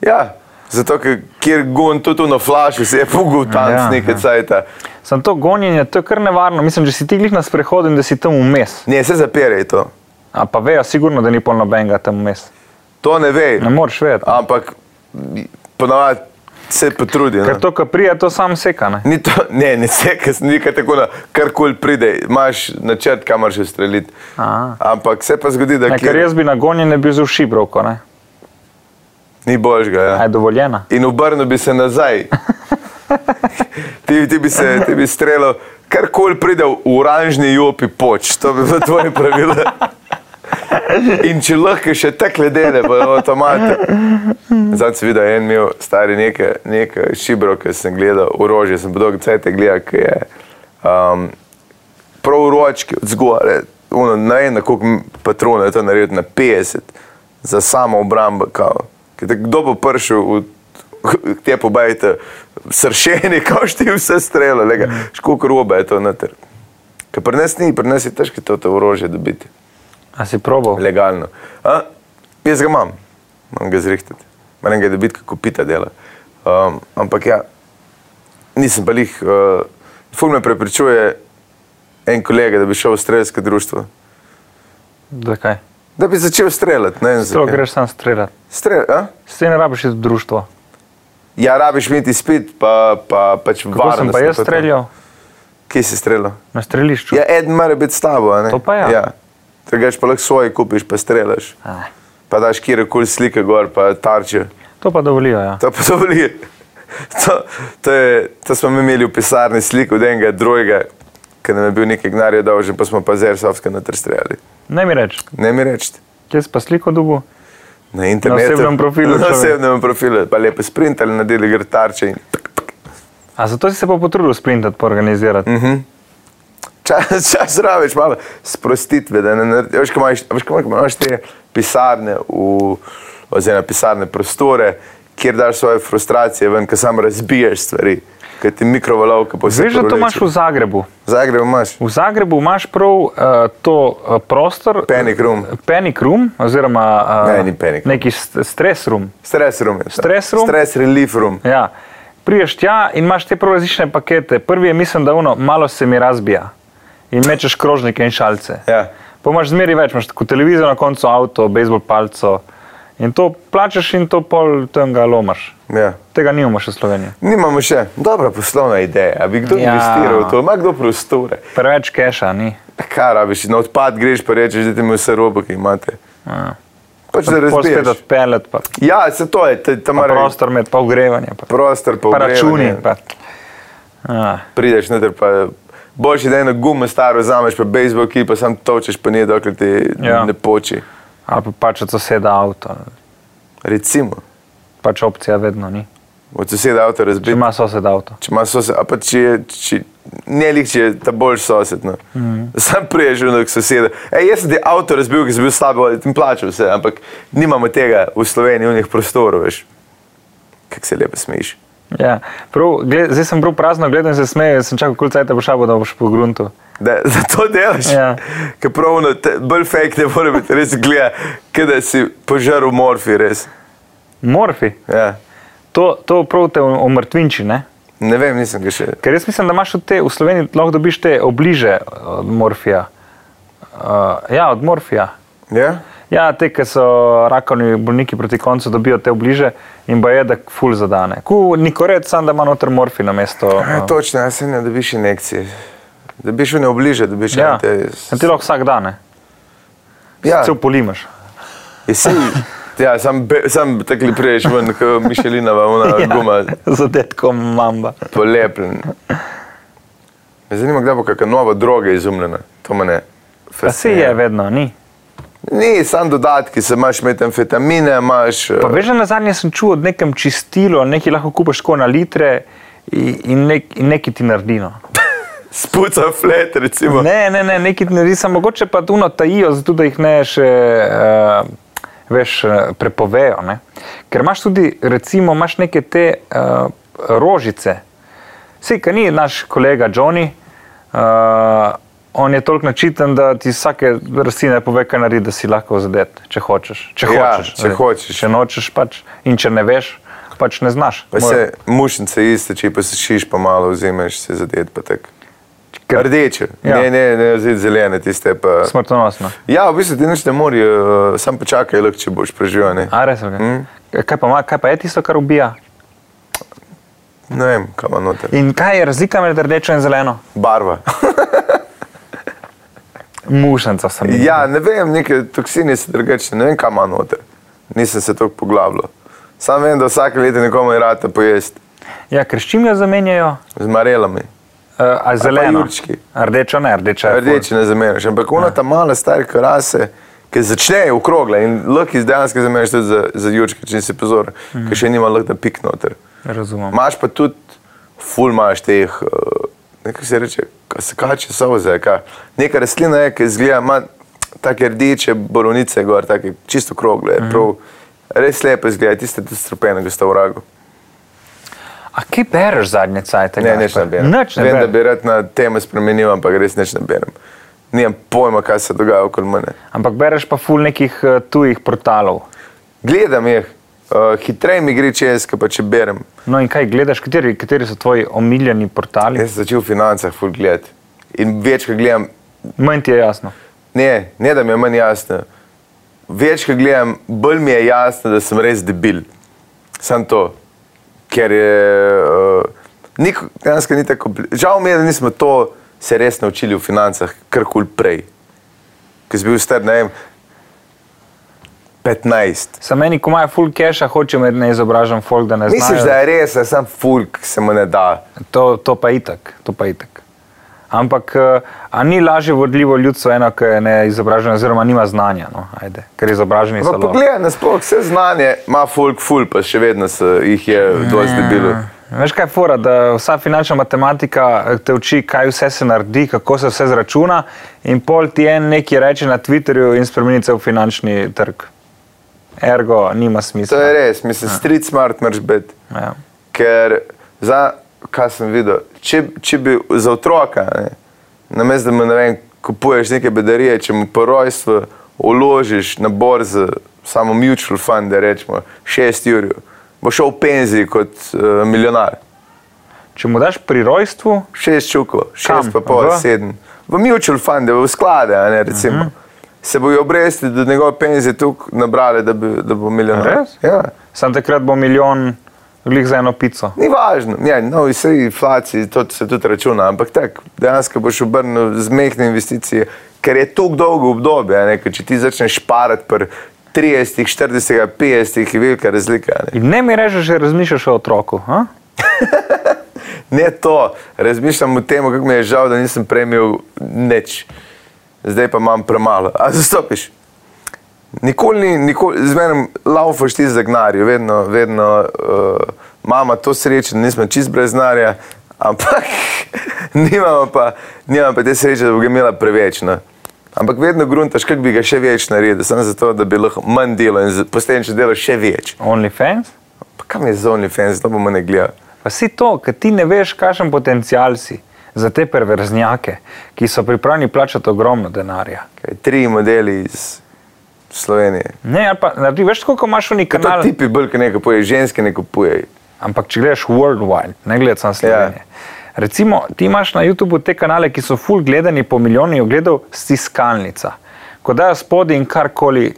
Speaker 2: Ja, zato, ker kjer gun tudi na flašu se je pogul tam
Speaker 3: Ja,
Speaker 2: ja, nekaj
Speaker 3: ja.
Speaker 2: ja. cajta.
Speaker 3: Sam to gonjenje, to je kar nevarno. Mislim, če si ti glih na sprehodu in da si tam vmes.
Speaker 2: Ne, se zapiraj to.
Speaker 3: A pa vejo, sigurno, da ni polno benga tam vmes.
Speaker 2: To ne ve,
Speaker 3: Ne moreš vedeti.
Speaker 2: ampak ponavadi se potrudi. no.
Speaker 3: Ker to, kar prija, to sam seka. Ne?
Speaker 2: Ni to, ne, ne se, ker ni kaj tako, na kar koli pride, imaš načrt, kamor še streljiti.
Speaker 3: Aha.
Speaker 2: Ampak se pa zgodi, da
Speaker 3: Ne, ker
Speaker 2: kjer,
Speaker 3: jaz bi na gonjenje bil zelo šibrovko, ne?
Speaker 2: ni božga.
Speaker 3: A
Speaker 2: Ja.
Speaker 3: je dovoljena.
Speaker 2: In obrnil bi se nazaj. ti, ti bi se ti bi streljal, kar koli pride v oranžni jopi poč, to bi bilo tvoje pravilo. In če lahko še te kledene, pa avtomate. Zdaj si videl, en imel stari neke, neke šibro, ki sem gledal, orožje, sem podolg cajt gledal, ki je um, prav ročki od zgore, ono, ne vem, na koliko patronov je to naredil, na 50, za samo obrambo. kao. Ker tako, Kdo bo prišel v te pobajte, sršeni, kao šti vse strele, lega, škok robe je to noter. Ker pri nas ni, pri nas je težko to, to orožje dobiti,
Speaker 3: A si probal?
Speaker 2: legalno. A? Jaz ga imam, moram ga zrihtati, moram ga dobiti, kako pita dela. Um, ampak ja, nisem pa jih, uh, ful me prepričuje en kolega, da bi šel v strelsko društvo.
Speaker 3: Zakaj?
Speaker 2: Da bi začel streljati, ne vem
Speaker 3: Celo
Speaker 2: zakaj.
Speaker 3: greš sam streljati.
Speaker 2: Strel, a?
Speaker 3: S tem ne rabiš iti v društvo.
Speaker 2: ja, rabiš imeti spit, pa, pa pač
Speaker 3: Kako sem pa
Speaker 2: varnostno
Speaker 3: jaz
Speaker 2: to- to.
Speaker 3: streljal?
Speaker 2: Kje si streljal?
Speaker 3: Na strelišču.
Speaker 2: Ja, eden mora biti s tabo, a ne?
Speaker 3: To pa ja.
Speaker 2: ja. Drugač pa lahko svoje kupiš, pa streljaš.
Speaker 3: Ah,
Speaker 2: Pa daš kjerkoli slike gor, pa tarče.
Speaker 3: to pa dovolijo, ja.
Speaker 2: To pa to boli. To, to, je, to smo mi imeli v pisarni sliko od enega drugega, ki nam je bil nekaj gnarja dolžen, pa smo pa z Airsoftka natr streljali.
Speaker 3: Ne mi reči,
Speaker 2: Ne mi rečete.
Speaker 3: kje si pa sliko dubu?
Speaker 2: Na internetu.
Speaker 3: osebnem
Speaker 2: Na
Speaker 3: profilu, človek.
Speaker 2: osebnem profilu, pa lepo sprintali, nadeli gre tarče in
Speaker 3: A zato si se pa potrudil sprintati, pa organizirati.
Speaker 2: Mhm.
Speaker 3: Mm.
Speaker 2: Čas, čas rabiš malo sprostitve, da ne narediš. Veš, ko imaš, veš, ko imaš- imaš te pisarne, v, oziroma pisarne prostore, kjer daš svoje frustracije ven, ker sam razbiješ stvari, ker ti mikrovalovka posebej.
Speaker 3: Veš, da to imaš v Zagrebu.
Speaker 2: Zagreb, imaš
Speaker 3: V Zagrebu imaš prav uh, to uh, prostor.
Speaker 2: Panic room.
Speaker 3: Panic room, oziroma eh,
Speaker 2: Ne, ni panic room.
Speaker 3: neki st- stres room.
Speaker 2: stres room. je to.
Speaker 3: Stres room?
Speaker 2: Stres relief room.
Speaker 3: Ja. Priješ tja in imaš te prav različne pakete. Prvi je, mislim, da ono, malo se mi razbija in mečeš krožnike in šalce.
Speaker 2: Ja.
Speaker 3: Pa imaš zmeri več, imaš tako televizijo na koncu, avto, bejzbol palco in to plačeš in to pol tam ga lomaš.
Speaker 2: Ja.
Speaker 3: Tega nimamo še v Sloveniji.
Speaker 2: Nimamo še dobra poslovna ideja, a bi kdo
Speaker 3: Ja.
Speaker 2: ja. investiral v to, ima kdo prostore.
Speaker 3: Preveč keša ni.
Speaker 2: Kaj rabiš, na odpad greš pa rečeš, da ti mi vse robo, ki imate.
Speaker 3: Ja.
Speaker 2: Pač da
Speaker 3: Pol spet
Speaker 2: razbiješ.
Speaker 3: odpeljati, pa,
Speaker 2: Ja, se to je, te- tam
Speaker 3: pa
Speaker 2: mora
Speaker 3: prostor med, pa ogrevanje, pa,
Speaker 2: prostor, pa
Speaker 3: pa
Speaker 2: ogrevanje.
Speaker 3: računi. Pa. Ja.
Speaker 2: Prideš noter, pa boljše, da eno gumo staro vzameš, pa bejzbol, ki pa sam točeš, pa ne dokler ti
Speaker 3: Ja.
Speaker 2: ja. ne poči.
Speaker 3: Ali pa pač od soseda avto,
Speaker 2: Recimo,
Speaker 3: pač opcija vedno ni.
Speaker 2: od soseda avto
Speaker 3: Če
Speaker 2: razbiti.
Speaker 3: ima sosed avto.
Speaker 2: Če ima sosed, a pa če je, če, ne lih, če je ta boljši sosed. No.
Speaker 3: Mhm.
Speaker 2: Mm. Sam priješ do soseda. Ej, jaz sem ti avto razbil, ker sem bil slab in plačal vse, ampak nimamo tega v Sloveniji, v njih prostorov, veš. Kak se lepo smejiš.
Speaker 3: Ja. Prav, gled, zdaj sem prav prazno gledal in se smejal, sem čakal, koliko cajt bo šabo, da boš po gruntu.
Speaker 2: Da, da to delaš.
Speaker 3: Ja.
Speaker 2: Ker pravno, te- bolj fake ne more biti, res gleda, kot da si požaral morfi, res.
Speaker 3: Morfi,
Speaker 2: Ja.
Speaker 3: to, to prav te o- omrtvinči, ne?
Speaker 2: Ne vem, nisem ga še.
Speaker 3: Ker jaz mislim, da imaš od te, v Sloveniji lahko dobiš te obliže eh, od morfija. Uh, ja, od morfija.
Speaker 2: Ja?
Speaker 3: Ja, te, ki so rakavni bolniki proti koncu, dobijo te obliže in boje, da ful zadane. Ku nikorec, sam da ima noter eh, morfi na mesto.
Speaker 2: Ja, točno, jaz se ne dobiš injekcije. Da bi šel ne obliže, da bi šel
Speaker 3: ja.
Speaker 2: te.
Speaker 3: Ja, ti lahko vsak dan, ne?
Speaker 2: Ja,
Speaker 3: Cel polimaš.
Speaker 2: jesi, ja sam, be- sam takli priješ ven, kot Mišelinova, ona ja. guma,
Speaker 3: Za detkom mamba.
Speaker 2: polepljen. Me zanima, kdaj bo kakšna nova droga izumljena. To me ne.
Speaker 3: Pa se je vedno, ni.
Speaker 2: Ni, sam dodatki, se imaš metamfetamine, imaš. eh,
Speaker 3: Pa veš, da na zadnje sem čutil od nekem čistilu, nekaj lahko kupaš tako na litre i- in, nek, in neki ti naredi. No.
Speaker 2: Spuca flet, recimo.
Speaker 3: Ne, ne, ne, neki ti naredi, samo mogoče pa tuno tajijo, zato da jih ne še uh, veš, eh, prepovejo. Ne. Ker imaš tudi, recimo, imaš neke te uh, rožice. Vse, kar ni naš kolega Johnny, uh, on je toliko načiten, da ti vsake rastline pove, kaj naredi, da si lahko zadet, če hočeš. Če
Speaker 2: Ja,
Speaker 3: hočeš,
Speaker 2: če
Speaker 3: zdaj.
Speaker 2: hočeš.
Speaker 3: Če nočeš pač in če ne veš, pač ne znaš.
Speaker 2: Pa
Speaker 3: Moj-
Speaker 2: se mušnice izteče, pa se šiš, pa malo vzameš, se zadet pa tak.
Speaker 3: Ker-
Speaker 2: Rdeče, ja.
Speaker 3: Ja.
Speaker 2: ne, ne, ne, zdaj zelene tiste pa.
Speaker 3: Smrtonosno.
Speaker 2: Ja, v bistvu ti nič ne morajo, eh, samo počakaj, lahko če boš preživel. Ne,
Speaker 3: A res, okay.
Speaker 2: Hm?
Speaker 3: mm. kaj, pa, ima- kaj pa je tisto, kar ubija?
Speaker 2: ne vem, kam ima noter.
Speaker 3: In kaj je razlika med rdečo in zeleno?
Speaker 2: Barva.
Speaker 3: Mušnica sem. jaz.
Speaker 2: Ja, ne vem, neke toksine so drugačne, ne vem, kam ima noter. Nisem se toliko poglabljal. Sam vem, da vsake leto nekomu je rata pojesti
Speaker 3: ja, ker s čim jo zamenjajo? Uh,
Speaker 2: z marelami.
Speaker 3: a zeleno.
Speaker 2: jurčki.
Speaker 3: Rdečo ne, rdeča. je ful. Ja.
Speaker 2: Rdeče ne zameniš, ampak ona ta mala stara karase, ki začne okrogla in lahko iz dejansko zameniš tudi za, za jučke, če si pozor, mm. ker še nima lahko pik noter.
Speaker 3: Mhm. Razumem.
Speaker 2: Imaš pa tudi, ful imaš teh, eh, nekaj se reče, ka- se kače soze, ka. neka rastlina je, ki izgleda, ima take rdeče borovnice gor, take čisto krogle,
Speaker 3: Mhm.
Speaker 2: mm. prav, res lepo izgleda, tiste tudi strupene, ki ste v ragu.
Speaker 3: A kaj bereš zadnje cajt?
Speaker 2: Ne, nič ne berem.
Speaker 3: Ja, Nič ne
Speaker 2: Vem, da
Speaker 3: bereš.
Speaker 2: bi rad na teme spremenil, ampak res nič ne berem. Nijem pojma, kaj se dogaja okoli mene.
Speaker 3: Ampak bereš pa ful nekih eh, tujih portalov.
Speaker 2: Gledam jih, uh, hitreje mi gre čez, kot pa če berem.
Speaker 3: No in kaj gledaš, kateri, kateri so tvoji omiljeni portali?
Speaker 2: Jaz sem začel v financah ful gledati. In več, ko gledam,
Speaker 3: Meni ti je jasno.
Speaker 2: ne, ne da mi je manj jasno. Več, ko gledam, bolj mi je jasno, da sem res debil. Sam to, ker je. Uh, nik, dejansko ni tako. kompli- Žal mi je, da nismo to se res naučili v financah, kar kul prej. Ker sem bil star, ne vem, 15.
Speaker 3: Sam meni, ko imajo full cache, hoče me ne izobražen folk, da ne znajo.
Speaker 2: Misliš, da je res, da sem fulk, se mu ne da.
Speaker 3: To, to pa itak, to pa itak. Ampak eh, a ni lažje vodljivo ljudstvo, eno, ki je neizobraženo, oziroma nima znanja, no, ajde, ker izobraženi so
Speaker 2: Pa
Speaker 3: lahko.
Speaker 2: No, poglej, nasploh vse znanje ima folk ful, pa še vedno se jih je dosti debilo.
Speaker 3: Veš kaj je fora, da vsa finančna matematika eh, te uči, kaj vse se naredi, kako se vse zračuna in pol ti en neki reče na Twitterju in spremeni cel finančni trg. Ergo, nima
Speaker 2: To je
Speaker 3: smisla.
Speaker 2: res, mislim, street smart mrš biti.
Speaker 3: Ja.
Speaker 2: Ker za, kaj sem videl, če, če bi za otroka, ne, namesto da mu ne vem, kupuješ neke bedarije, če mu po rojstvu uložiš na borzi, samo mutual fund, da rečemo, 6 jurjev, bo šel v penziji kot uh, milijonar.
Speaker 3: Če mu daš pri rojstvu,
Speaker 2: šest čukov,
Speaker 3: Kam?
Speaker 2: šest pa pol,
Speaker 3: V? Mhm.
Speaker 2: sedem. V mutual funde, v sklade, a ne, recimo. Uh -huh. Se bojo obresti, da njegove penzije tukaj nabrale, da, bi, da bo milijonar.
Speaker 3: Res?
Speaker 2: Ja.
Speaker 3: sam takrat bo milijon glih za eno pico.
Speaker 2: Ni važno, ja, no, vse inflacije, to se tudi računa, ampak tak, dejansko boš obrnil z mehne investicije, ker je tako dolgo obdobje, a ne, ker če ti začneš šparati pri 30, 40, 50, je velika razlika. a Ne.
Speaker 3: In ne mi režeš, že razmišljaš o otroku. A?
Speaker 2: Ne to, razmišljam o tem, kako mi je žal, da nisem prejmil nič. Zdaj pa imam premalo. A zastopiš? Nikoli, ni- nikoli zmeraj laufaš ti za gnarijo, vedno, vedno uh, imamo to srečo, da nismo čist brez znarja, ampak nimamo pa, nimamo pa te sreče, da bi ga imela preveč. Ne? Ampak vedno gruntaš, kako bi ga še več naredil, samo zato, da bi lahko manj delal in z- posledično delal še več.
Speaker 3: OnlyFans?
Speaker 2: Pa kam je zovni fans, to bomo ne gledali.
Speaker 3: Pa si to, ker ti ne veš, kakšen potencial si za te perverznjake, ki so pripravljeni plačati ogromno denarja.
Speaker 2: Kaj, tri modeli iz Slovenije.
Speaker 3: Ne, ali pa, naredi, veš, tako, ko imaš neki
Speaker 2: Kaj to
Speaker 3: kanal.
Speaker 2: tipi bolj, ki ne kupujejo, ženske ne kupujejo.
Speaker 3: Ampak če gledaš worldwide, ne gledaš samo Slovenije. Recimo, ti imaš na YouTubu te kanale, ki so full gledani po milijonu ogledov, stiskalnica. Ko dajo spodaj in karkoli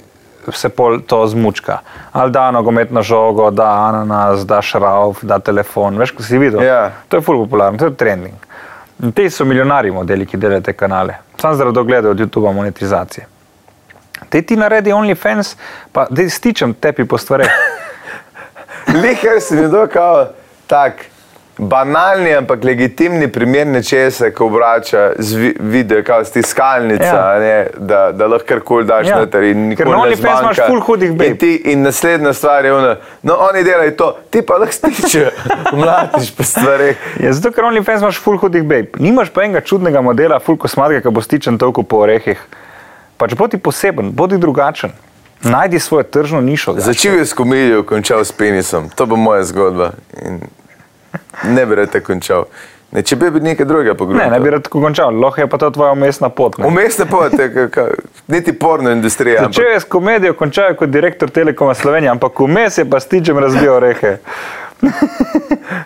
Speaker 3: se pol to zmučka. Ali da nogometno žogo, da ananas, da šrauf, da telefon. Veš, ko si videl.
Speaker 2: Ja.
Speaker 3: To je full popularno, to je trending. In te so milijonari modeli, ki delajo te kanale. Sam zaradi ogledov od YouTuba monetizacije. Te ti naredi OnlyFans, pa da stičem tepi po stvareh.
Speaker 2: Lihar si nekdo kao tak banalni, ampak legitimni primer nečesa, ko obrača z vi- video, kao stiskalnica, ja.
Speaker 3: Ja.
Speaker 2: ne, da, da lahko karkoli daš
Speaker 3: Ja.
Speaker 2: ja. noter in
Speaker 3: Ker
Speaker 2: nikoli
Speaker 3: na
Speaker 2: ne
Speaker 3: OnlyFans imaš
Speaker 2: zmanjka.
Speaker 3: ful hudih babe.
Speaker 2: In, ti, in naslednja stvar je ona, no oni delajo to, ti pa lahko stiče, mlatiš po stvareh.
Speaker 3: Ja, zato, ker OnlyFans imaš full hudih babe. Nimaš pa enega čudnega modela, full kosmatka, ki bo stičen toliko po orehih. Pač bodi poseben, bodi drugačen. Najdi svojo tržno nišo. ja. Za...
Speaker 2: Začel je s komedijo, končal s penisom. To bo moja zgodba. In ne bi rad tako končal. Ne, če bi bil nekaj drugega pogrunil.
Speaker 3: Ne, ne bi rad tako končal, lahko je pa to tvoja umestna pot. ne.
Speaker 2: Umestne pote, niti porno industrija. ampak-
Speaker 3: Začel je s komedijo, končal je kot direktor Telekoma Slovenije, ampak vmes je pa stičem razbil orehe.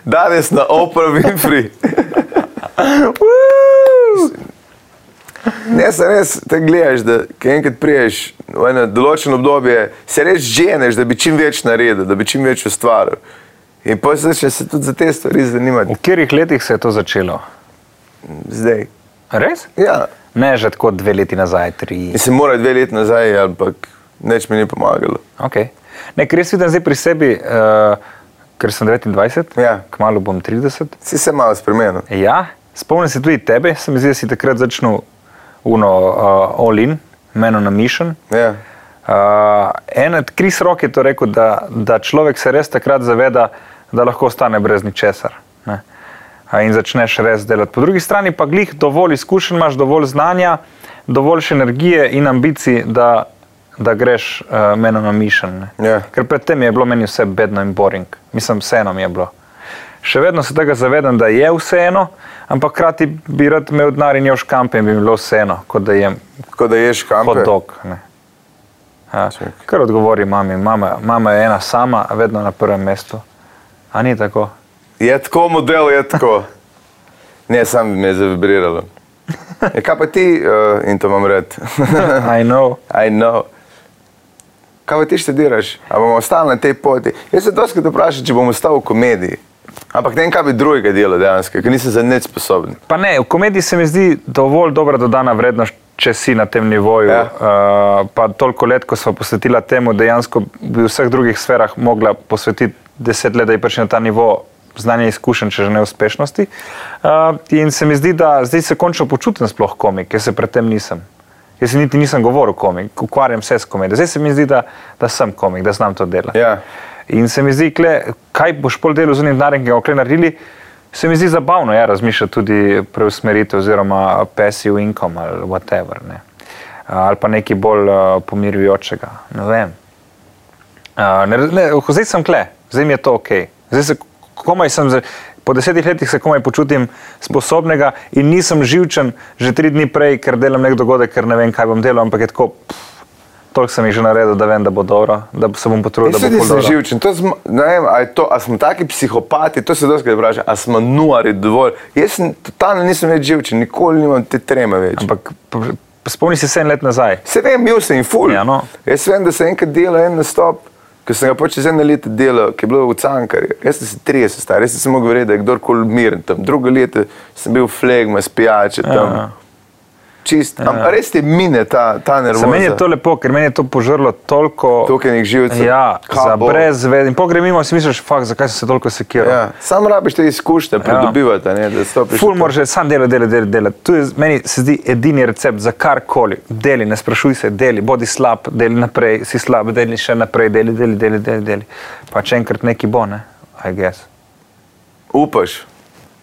Speaker 2: Danes na Oprah Winfrey. Ne, se res te gledaš, da ko enkrat priješ v eno določeno obdobje, se res ženeš, da bi čim več naredil, da bi čim več ustvaril. In pa se začneš se tudi za te stvari
Speaker 3: V
Speaker 2: zanimati.
Speaker 3: katerih letih se je to začelo?
Speaker 2: Zdaj.
Speaker 3: Res?
Speaker 2: Ja.
Speaker 3: Ne, že tako dve leti nazaj, tri.
Speaker 2: In se mora dve leti nazaj, ampak nič mi ni pomagalo.
Speaker 3: Okay. Ne, ker jaz vidim zdaj pri sebi, uh, ker sem 29,
Speaker 2: Ja.
Speaker 3: kmalo bom 30.
Speaker 2: Si se malo spremenil.
Speaker 3: Ja, spomnim se tudi tebe, sem zdaj si takrat začel uno uh, all in, meno na mission.
Speaker 2: Ja.
Speaker 3: Uh, en od Kris Rock je to rekel, da, da človek se res takrat zaveda, da lahko ostane brez ničesar. Ne? A In začneš res delati. Po drugi strani pa glih dovolj izkušenj, imaš dovolj znanja, dovolj še energije in ambicij, da, da greš uh, meno na mišljenje.
Speaker 2: Ja.
Speaker 3: Ker predtem je bilo meni vse bedno in boring, mislim, vseeno mi je bilo. Še vedno se tega zavedam, da je vseeno, ampak hkrati bi rad imel denar in je v škampi in bi mi bilo vseeno, kot da jem
Speaker 2: Tako da ješ kampe.
Speaker 3: hot dog. ne. Ja,
Speaker 2: Čakaj.
Speaker 3: Kar odgovori mami, mama, mama je ena sama, vedno na prvem mestu. A ni tako?
Speaker 2: Je tako model, je tako. Ne, sam mi je zavibriralo. Ja, kaj pa ti, uh, in to imam rad,
Speaker 3: I know.
Speaker 2: I know. Kaj pa ti študiraš, ali bomo ostali na tej poti? Jaz se doskrat vprašam, če bom ostal v komediji. Ampak ne vem, kaj bi drugega dela dejansko, ker nisem za nič sposoben.
Speaker 3: Pa ne, v komediji se mi zdi dovolj dobra dodana vrednost, če si na tem nivoju.
Speaker 2: Ja.
Speaker 3: Uh, pa toliko let, ko smo posvetila temu, dejansko bi v vseh drugih sferah mogla posvetiti deset let, da je prišla na ta nivo znanja in izkušenj, če že ne uspešnosti. Uh, in se mi zdi, da zdaj se končno počutim sploh komik, ker se predtem nisem. Jaz se niti nisem govoril komik, ukvarjam se s komedijo. Zdaj se mi zdi, da, da sem komik, da znam to delati.
Speaker 2: Ja.
Speaker 3: In se mi zdi, kle, kaj boš pol delal z unim denarjem, ki ga okle naredili, se mi zdi zabavno, ja, razmišljati tudi preusmeritev oziroma passive income ali whatever, ne. Eh, ali pa nekaj bolj uh, pomirjujočega, ne vem. Uh, ne, ne, zdaj sem kle, zdaj mi je to ok. Zdaj se komaj sem, za- po desetih letih se komaj počutim sposobnega in nisem živčen že tri dni prej, ker delam nek dogodek, ker ne vem, kaj bom delal, ampak je tako, pff, toliko sem jih že naredil, da vem, da bo dobro, da se bom potrudil,
Speaker 2: Jaz
Speaker 3: da bo
Speaker 2: tudi
Speaker 3: ful
Speaker 2: nisem
Speaker 3: dobro.
Speaker 2: živčen, to smo, ne vem, a, je to, a smo taki psihopati, to se doskrat vprašam, a smo nuari dovolj. Jaz sem, totalno nisem več živčen, nikoli nimam te treme več.
Speaker 3: Ampak p- p- spomni se sedem let nazaj.
Speaker 2: Se vem, bil sem in ful.
Speaker 3: Ja, no.
Speaker 2: Jaz vem, da sem enkrat delal en nastop, ki sem ga pač čez eno leto delal, ki je bilo v Cankarju. Jaz sem se 30 star, jaz sem mogel verjeti, da je kdorkoli miren tam. Drugo leto sem bil flegma, spijače tam.
Speaker 3: Ja.
Speaker 2: Ja. čist. Ja. Res ti mine ta, ta nervoza.
Speaker 3: Za meni je to lepo, ker meni je to požrlo toliko.
Speaker 2: Tokenih živcev.
Speaker 3: Ja,
Speaker 2: Kaj
Speaker 3: za
Speaker 2: bo?
Speaker 3: brezved. In pogremimo, si misliš, fakt, zakaj sem se toliko sekiral.
Speaker 2: Ja. Sam rabiš te izkušnje, pridobivati, ja. da stopiš.
Speaker 3: Ful moraš reči, sam delo, delo, delo, delo. To je meni se zdi edini recept za karkoli. Deli, ne sprašuj se, deli, bodi slab, deli naprej, si slab, deli še naprej, deli, deli, deli, deli. deli. Pa če enkrat neki bo, ne, I guess.
Speaker 2: Upaš,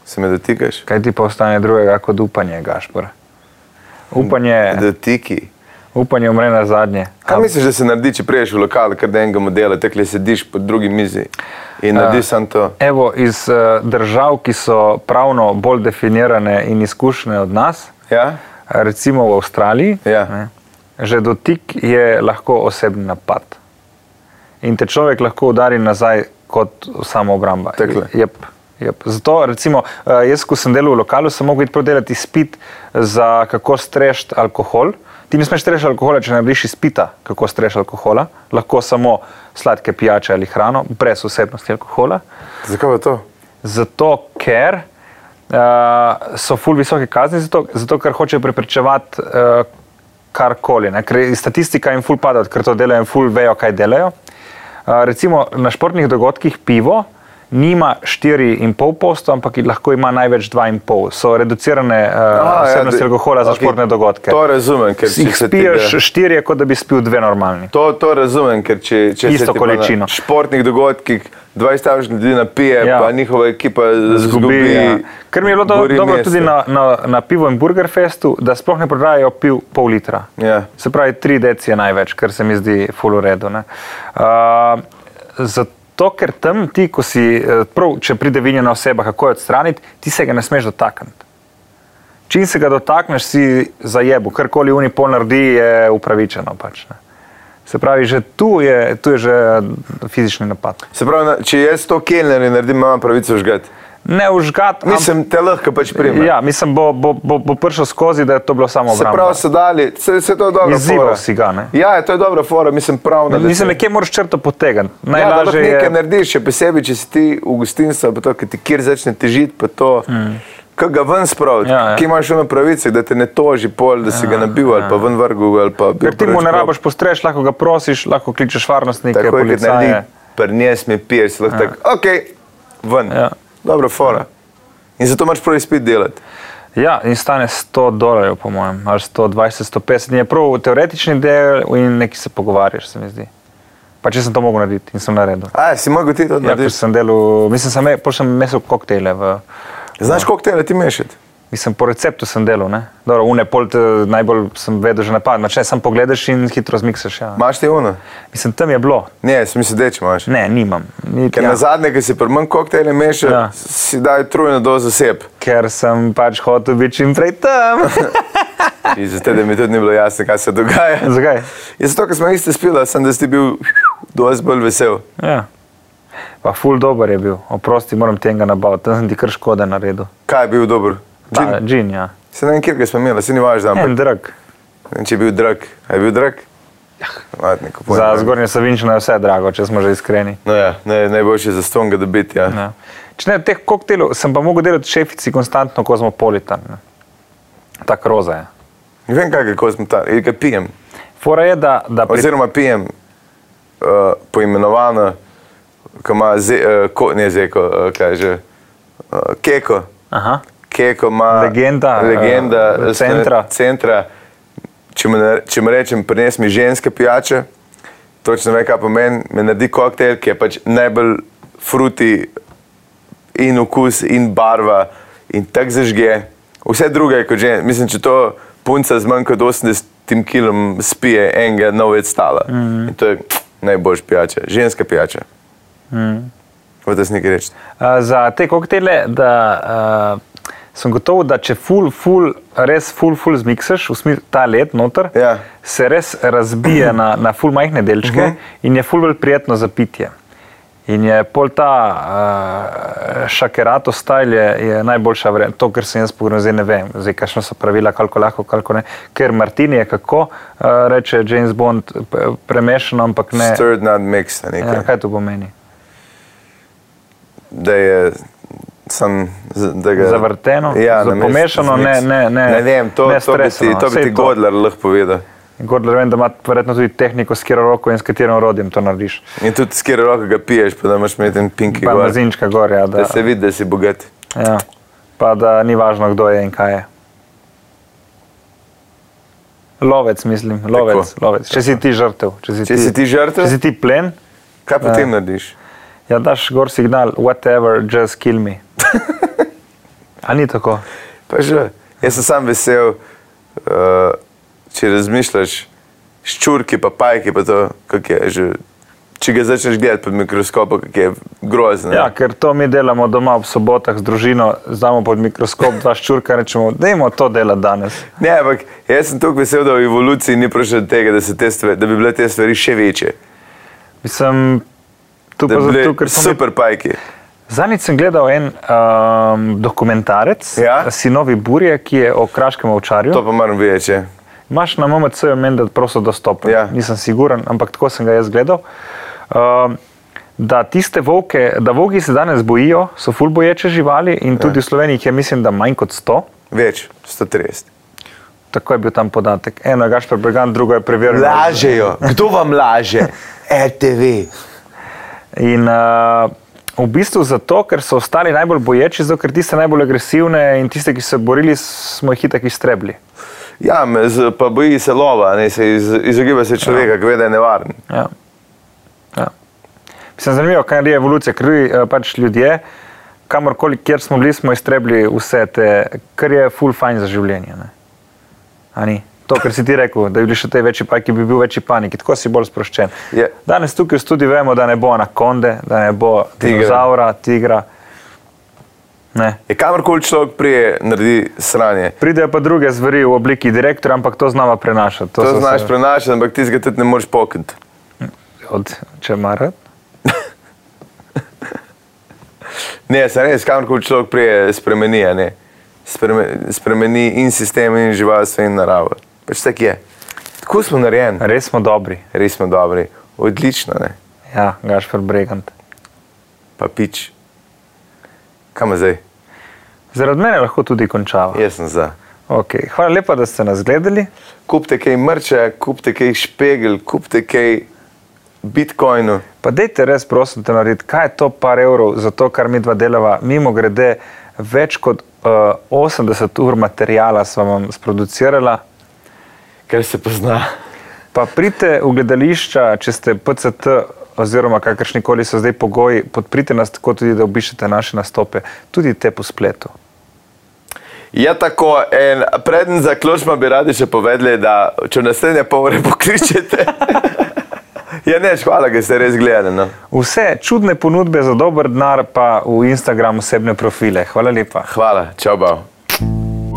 Speaker 2: se me dotikaš.
Speaker 3: Kaj ti pa ostane drugega kot upanje, Gašpor? Upanje,
Speaker 2: Dotiki.
Speaker 3: upanje umre na zadnje.
Speaker 2: Kaj misliš, da se naredi, če priješ v lokal, ker da enega modela, tekle sediš pod drugi mizi in
Speaker 3: Ja.
Speaker 2: narediš samo to?
Speaker 3: Evo, iz eh, držav, ki so pravno bolj definirane in izkušene od nas, eh,
Speaker 2: Ja?
Speaker 3: recimo v Avstraliji,
Speaker 2: Ja.
Speaker 3: ne, že dotik je lahko osebni napad. In te človek lahko udari nazaj kot samoobramba.
Speaker 2: Takole.
Speaker 3: Jep, jep. Zato, recimo, eh, jaz, ko sem delal v lokalu, sem mogel iti prodelati izpit za kako strešiti alkohol. Ti ne smeš strešiti alkohola, če ne narediš izpita, kako strešiti alkohola, lahko samo sladke pijače ali hrano, brez vsebnosti alkohola.
Speaker 2: Zakaj pa to?
Speaker 3: Zato, ker uh, so ful visoke kazni, zato, zato ker hočejo preprečevati uh, karkoli. ne, Ker statistika jim ful pada, ker to delajo in ful vejo, kaj delajo. Uh, recimo na športnih dogodkih pivo nima 4,5 posto, ampak lahko ima največ 2,5. So reducirane uh, vsebnosti ja, alkohola za
Speaker 2: okej,
Speaker 3: okay. športne dogodke.
Speaker 2: To razumem, ker če
Speaker 3: Jih
Speaker 2: se ti
Speaker 3: spiješ
Speaker 2: gre-
Speaker 3: štiri, je, kot da bi spil dve normalni.
Speaker 2: To, to razumem, ker če, če se ti
Speaker 3: Isto
Speaker 2: pa
Speaker 3: količino.
Speaker 2: na športnih dogodkih 20 ljudi napije,
Speaker 3: Ja.
Speaker 2: ja. pa njihova ekipa zgubi.
Speaker 3: ja. Ker mi je bilo do,
Speaker 2: gori
Speaker 3: dobro
Speaker 2: mesto.
Speaker 3: tudi na, na, na pivo in burger festu, da sploh ne prodajajo piv pol litra.
Speaker 2: Ja.
Speaker 3: Se pravi, 3 deci je največ, kar se mi zdi fuluredo. Uh, zato, ker tam ti, ko si, eh, prav, če pride vinjena oseba, kako jo odstraniti, ti se ga ne smeš dotakniti. Čim se ga dotakneš, si zajebu, karkoli unipol naredi, je upravičeno. Pač, ne. se pravi, že tu je, tu je že eh, fizični napad.
Speaker 2: Se pravi, na- če jaz to kelnerje naredim, imam pravico žgati.
Speaker 3: Ne užgat, ampak-
Speaker 2: Mislim, te lahko pač primem.
Speaker 3: Ja, mislim, bo, bo, bo, bo prišel skozi, da je to bilo samo
Speaker 2: Se
Speaker 3: obrambno.
Speaker 2: pravi, so dali, se, se to je dobro.
Speaker 3: Izzival si ga, ne?
Speaker 2: Ja, to je dobro, fora, mislim, pravno.
Speaker 3: Mislim, nekje moraš črto potegniti.
Speaker 2: Ja, da lahko
Speaker 3: Najlažje
Speaker 2: nekaj
Speaker 3: je.
Speaker 2: narediš, še posebej, če si ti v gostinstvu, pa to, ki ti kjer začne težiti, pa to, mm. ki ga ven spraviti,
Speaker 3: Ja,
Speaker 2: ja,
Speaker 3: ja.
Speaker 2: ja. ki imaš ono pravice, da te ne toži pol, da si ja, ga nabil ali pa ven vrgu ali pa bil
Speaker 3: Ker ti mu
Speaker 2: preveč
Speaker 3: ne
Speaker 2: grob.
Speaker 3: rabiš postreš, lahko ga prosiš, lahko kličeš varnostnike,
Speaker 2: Tako je, kot naredi,
Speaker 3: policaje.
Speaker 2: prnjes mi piješ, si lahko ja. tako, ok, ven.
Speaker 3: Ja.
Speaker 2: Ja. Dobro, fora. In zato moraš prvi spit delati.
Speaker 3: Ja, in stane 100 dolarjev, po mojem, ali 120, 150. In je prav teoretični del in nekaj se pogovarjaš, se mi zdi. Pa če sem to mogel narediti in sem naredil.
Speaker 2: A, si mogel ti to
Speaker 3: Ja, ker
Speaker 2: narediti?
Speaker 3: sem delal, mislim, sem, pol sem mesel koktejle v
Speaker 2: Ja, Znaš, koliko tega ti mešati?
Speaker 3: Mislim, po receptu sem delal, ne? Dobro, une pol te najbolj sem vedel že napad, če sam pogledaš in hitro zmiksaš. Ja.
Speaker 2: Imaš ti ono?
Speaker 3: Mislim, tam je bilo.
Speaker 2: Ne, sem mislil, da če imaš.
Speaker 3: Ne, nimam. Ni,
Speaker 2: Ker ja. na zadnje, ki si pri manj koktejle mešal,
Speaker 3: Ja.
Speaker 2: ja. si daj trujno dozo sep.
Speaker 3: Ker sem pač hotel biti čim prej tam.
Speaker 2: In Zato, da mi tudi ni bilo jasno, kaj se dogaja.
Speaker 3: Zakaj?
Speaker 2: In zato, ker smo iste spila, sem da si ti bil dosti bolj vesel.
Speaker 3: Ja. Pa ful dober je bil, oprosti, moram tega nabaviti, tam sem ti kar škoda naredil.
Speaker 2: Kaj je bil dober?
Speaker 3: Ta,
Speaker 2: Gin?
Speaker 3: Gin, ja.
Speaker 2: Se ne vem, kjer ga smo imeli, se ni važno, ampak
Speaker 3: En drag.
Speaker 2: ne vem, če je bil drag. A je bil drag? Ja. Vatne,
Speaker 3: Za zgornje Savinčino je vse drago, če smo že iskreni.
Speaker 2: No ja, naj, najboljše za ston ga dobiti. Ja.
Speaker 3: Ja. Če ne, teh koktelov sem pa mogel delati šefici konstantno kozmopolitan. ne. Tak roza je.
Speaker 2: Ne vem, kaj ga smo tam, ali ga pijem.
Speaker 3: Fora je, da, da pri
Speaker 2: Oziroma pijem uh, poimenovano, ko ima ze, uh, ko, ne zeko, uh, kaj že, uh, keko.
Speaker 3: Aha.
Speaker 2: Keko ima
Speaker 3: Legenda,
Speaker 2: legenda
Speaker 3: eh, centra.
Speaker 2: centra. Če, mu ne- če mu rečem, prines mi ženske pijače, točno ve, kaj pomeni, me naredi koktejl, ki je pač najbolj fruti in okus in barva in tako zažge. Vse druge je kot že. Mislim, če to punca z manj kot 80 kg spije enega novega stala. Mm
Speaker 3: Mhm.
Speaker 2: -hmm. To je najboljš pijača, ženska pijača. Mm
Speaker 3: Mhm.
Speaker 2: -hmm. V resnici reči.
Speaker 3: Uh, za te koktejle, da uh, sem gotov, da če ful, ful, res ful, ful zmiksaš, v smislu ta led noter,
Speaker 2: Ja.
Speaker 3: se res razbije na, na ful majhne delčke uh -huh. in je ful bolj prijetno za pitje. In je pol ta uh, šakerato stajl je, je najboljša vrednost, to, kar sem jaz pogledal, zdaj ne vem, zdaj kakšno so pravila, koliko lahko, koliko ne. Ker Martini je kako, uh, reče James Bond, p- premešano, ampak ne.
Speaker 2: Stirred, not mixed. a nekaj.
Speaker 3: Ja, kaj to pomeni?
Speaker 2: da je Sem, z- da ga,
Speaker 3: Zavrteno?
Speaker 2: ja,
Speaker 3: Za
Speaker 2: namesto
Speaker 3: pomešano,
Speaker 2: zmiks.
Speaker 3: ne- ne- ne-
Speaker 2: ne vem, to,
Speaker 3: ne
Speaker 2: to bi ti,
Speaker 3: stresano,
Speaker 2: to bi
Speaker 3: saj
Speaker 2: ti
Speaker 3: to.
Speaker 2: Godler lahko povedal.
Speaker 3: Gordler, vem, da ima verjetno tudi tehniko, s katero roko in s katerim orodjem to narediš.
Speaker 2: In tudi s kjer roko ga piješ, pa da imaš med tem pinki
Speaker 3: Pa
Speaker 2: gor,
Speaker 3: mazinčka gor, ja, da,
Speaker 2: da se vidi, da si bogat.
Speaker 3: ja. pa da ni važno, kdo je in kaj je. Lovec, mislim, lovec.
Speaker 2: Tako.
Speaker 3: lovec. Če si ti žrtev, če si,
Speaker 2: Če si ti žrtev?
Speaker 3: če si ti plen,
Speaker 2: Kaj potem narediš?
Speaker 3: ja, daš gor signal, whatever, just kill me. A ni tako?
Speaker 2: Pa že. Jaz sem sam vesel, uh, če razmišljaš, ščurki, pa pajki, pa to, kako je že. Če ga začneš gledati pod mikroskopom, kako je grozno.
Speaker 3: Ja, ker to mi delamo doma ob sobotah z družino, znamo pod mikroskop dva ščurka in rečemo, da imamo to delati danes.
Speaker 2: Ne, ampak jaz sem tako vesel, da v evoluciji ni prišlo do tega, da, se te stvari, da bi bile te stvari še večje.
Speaker 3: Mislim, tu
Speaker 2: Da bi
Speaker 3: pa zato,
Speaker 2: bile
Speaker 3: ker smo mi
Speaker 2: super pajki.
Speaker 3: Zadnjič sem gledal en um, dokumentarec,
Speaker 2: Ja.
Speaker 3: Sinovi Burje, ki je o kraškem ovčarju.
Speaker 2: To pa moram vedeti. če.
Speaker 3: Imaš na MMC-ju meni, da je prosto dostopen.
Speaker 2: Ja.
Speaker 3: Nisem siguren, ampak tako sem ga jaz gledal. Um, da tiste volke, da volki se danes bojijo, so ful boječe živali in tudi ja. v Sloveniji jih je mislim, da manj kot 100.
Speaker 2: Več, 130.
Speaker 3: Tako je bil tam podatek. Eno je Gašpor Bregan, drugo je preveril.
Speaker 4: Lažejo. Kdo vam laže? RTV.
Speaker 3: In uh, v bistvu zato, ker so ostali najbolj boječi, zato ker tiste najbolj agresivne in tiste, ki so se borili, smo jih itak iztrebili.
Speaker 2: Ja, me z- pa boji se lova, ne, se iz, izogiba se človeka, ja. ki ve, da je nevaren.
Speaker 3: Ja. Ja. Mislim, zanimivo, kaj je evolucija, ker eh, pač ljudje, kamorkoli, kjer smo bili, smo iztrebili vse te, kar je full fajn za življenje. ne. A ni? To, kar si ti rekel, da bi bili še te večji pajki, bi bil večji paniki, tako si bolj sproščen.
Speaker 2: Je.
Speaker 3: Danes tukaj v studiu vemo, da ne bo anakonde, da ne bo
Speaker 2: Tigra.
Speaker 3: dinozaura, tigra. Ne.
Speaker 2: Je kamorkoli človek prije, naredi sranje.
Speaker 3: Pridejo pa druge zveri v obliki direktorja, ampak to znava prenašati.
Speaker 2: To, to
Speaker 3: so
Speaker 2: znaš
Speaker 3: se-
Speaker 2: prenašati, ampak ti ga tudi ne moreš pokiti.
Speaker 3: Od, če ima rad.
Speaker 2: Ne, se res, kamorkoli človek prije, spremeni, a ne. Spreme, spremeni in sistem, in živalstvo, in naravo. Pač tako je. Tako smo narejeni,
Speaker 3: Res smo dobri.
Speaker 2: res smo dobri, odlično, ne.
Speaker 3: Ja, Gašpor Bregant.
Speaker 2: pa pič. Kam zdaj?
Speaker 3: Zaradi mene lahko tudi končava.
Speaker 2: Jaz sem za.
Speaker 3: Okay. Hvala lepa, da ste nas gledali.
Speaker 2: Kupite kaj mrča, kupite kaj špegel, kupite kaj bitcoinu.
Speaker 3: Pa dejte res, prosim, da naredite, kaj je to par evrov za to, kar mi dva delava. Mimo grede, več kot uh, 80 ur materijala sem vam sproducirala.
Speaker 2: Ker se pozna.
Speaker 3: Pa pridite v gledališča, če ste PCT oziroma kakršni koli so zdaj pogoji, podprite nas tako tudi, da obišete naše nastope, tudi te po spletu.
Speaker 2: Je Ja, tako, in preden zaključimo, bi radi še povedali, da če v naslednje pol ure pokličete. ja, ne, hvala, ker ste res gledali. No.
Speaker 3: Vse čudne ponudbe za dober denar pa v Instagram osebne profile. Hvala lepa.
Speaker 2: Hvala, čau, bav.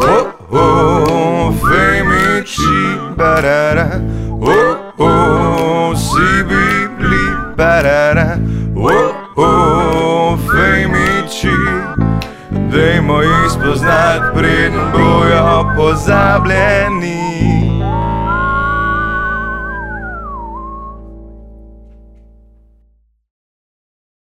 Speaker 1: Oh, oh, Femici, barara. Oh, oh, Sibi, bli, barara. Oh, oh, Femici, dajmo jih spoznati, preden bojo pozabljeni.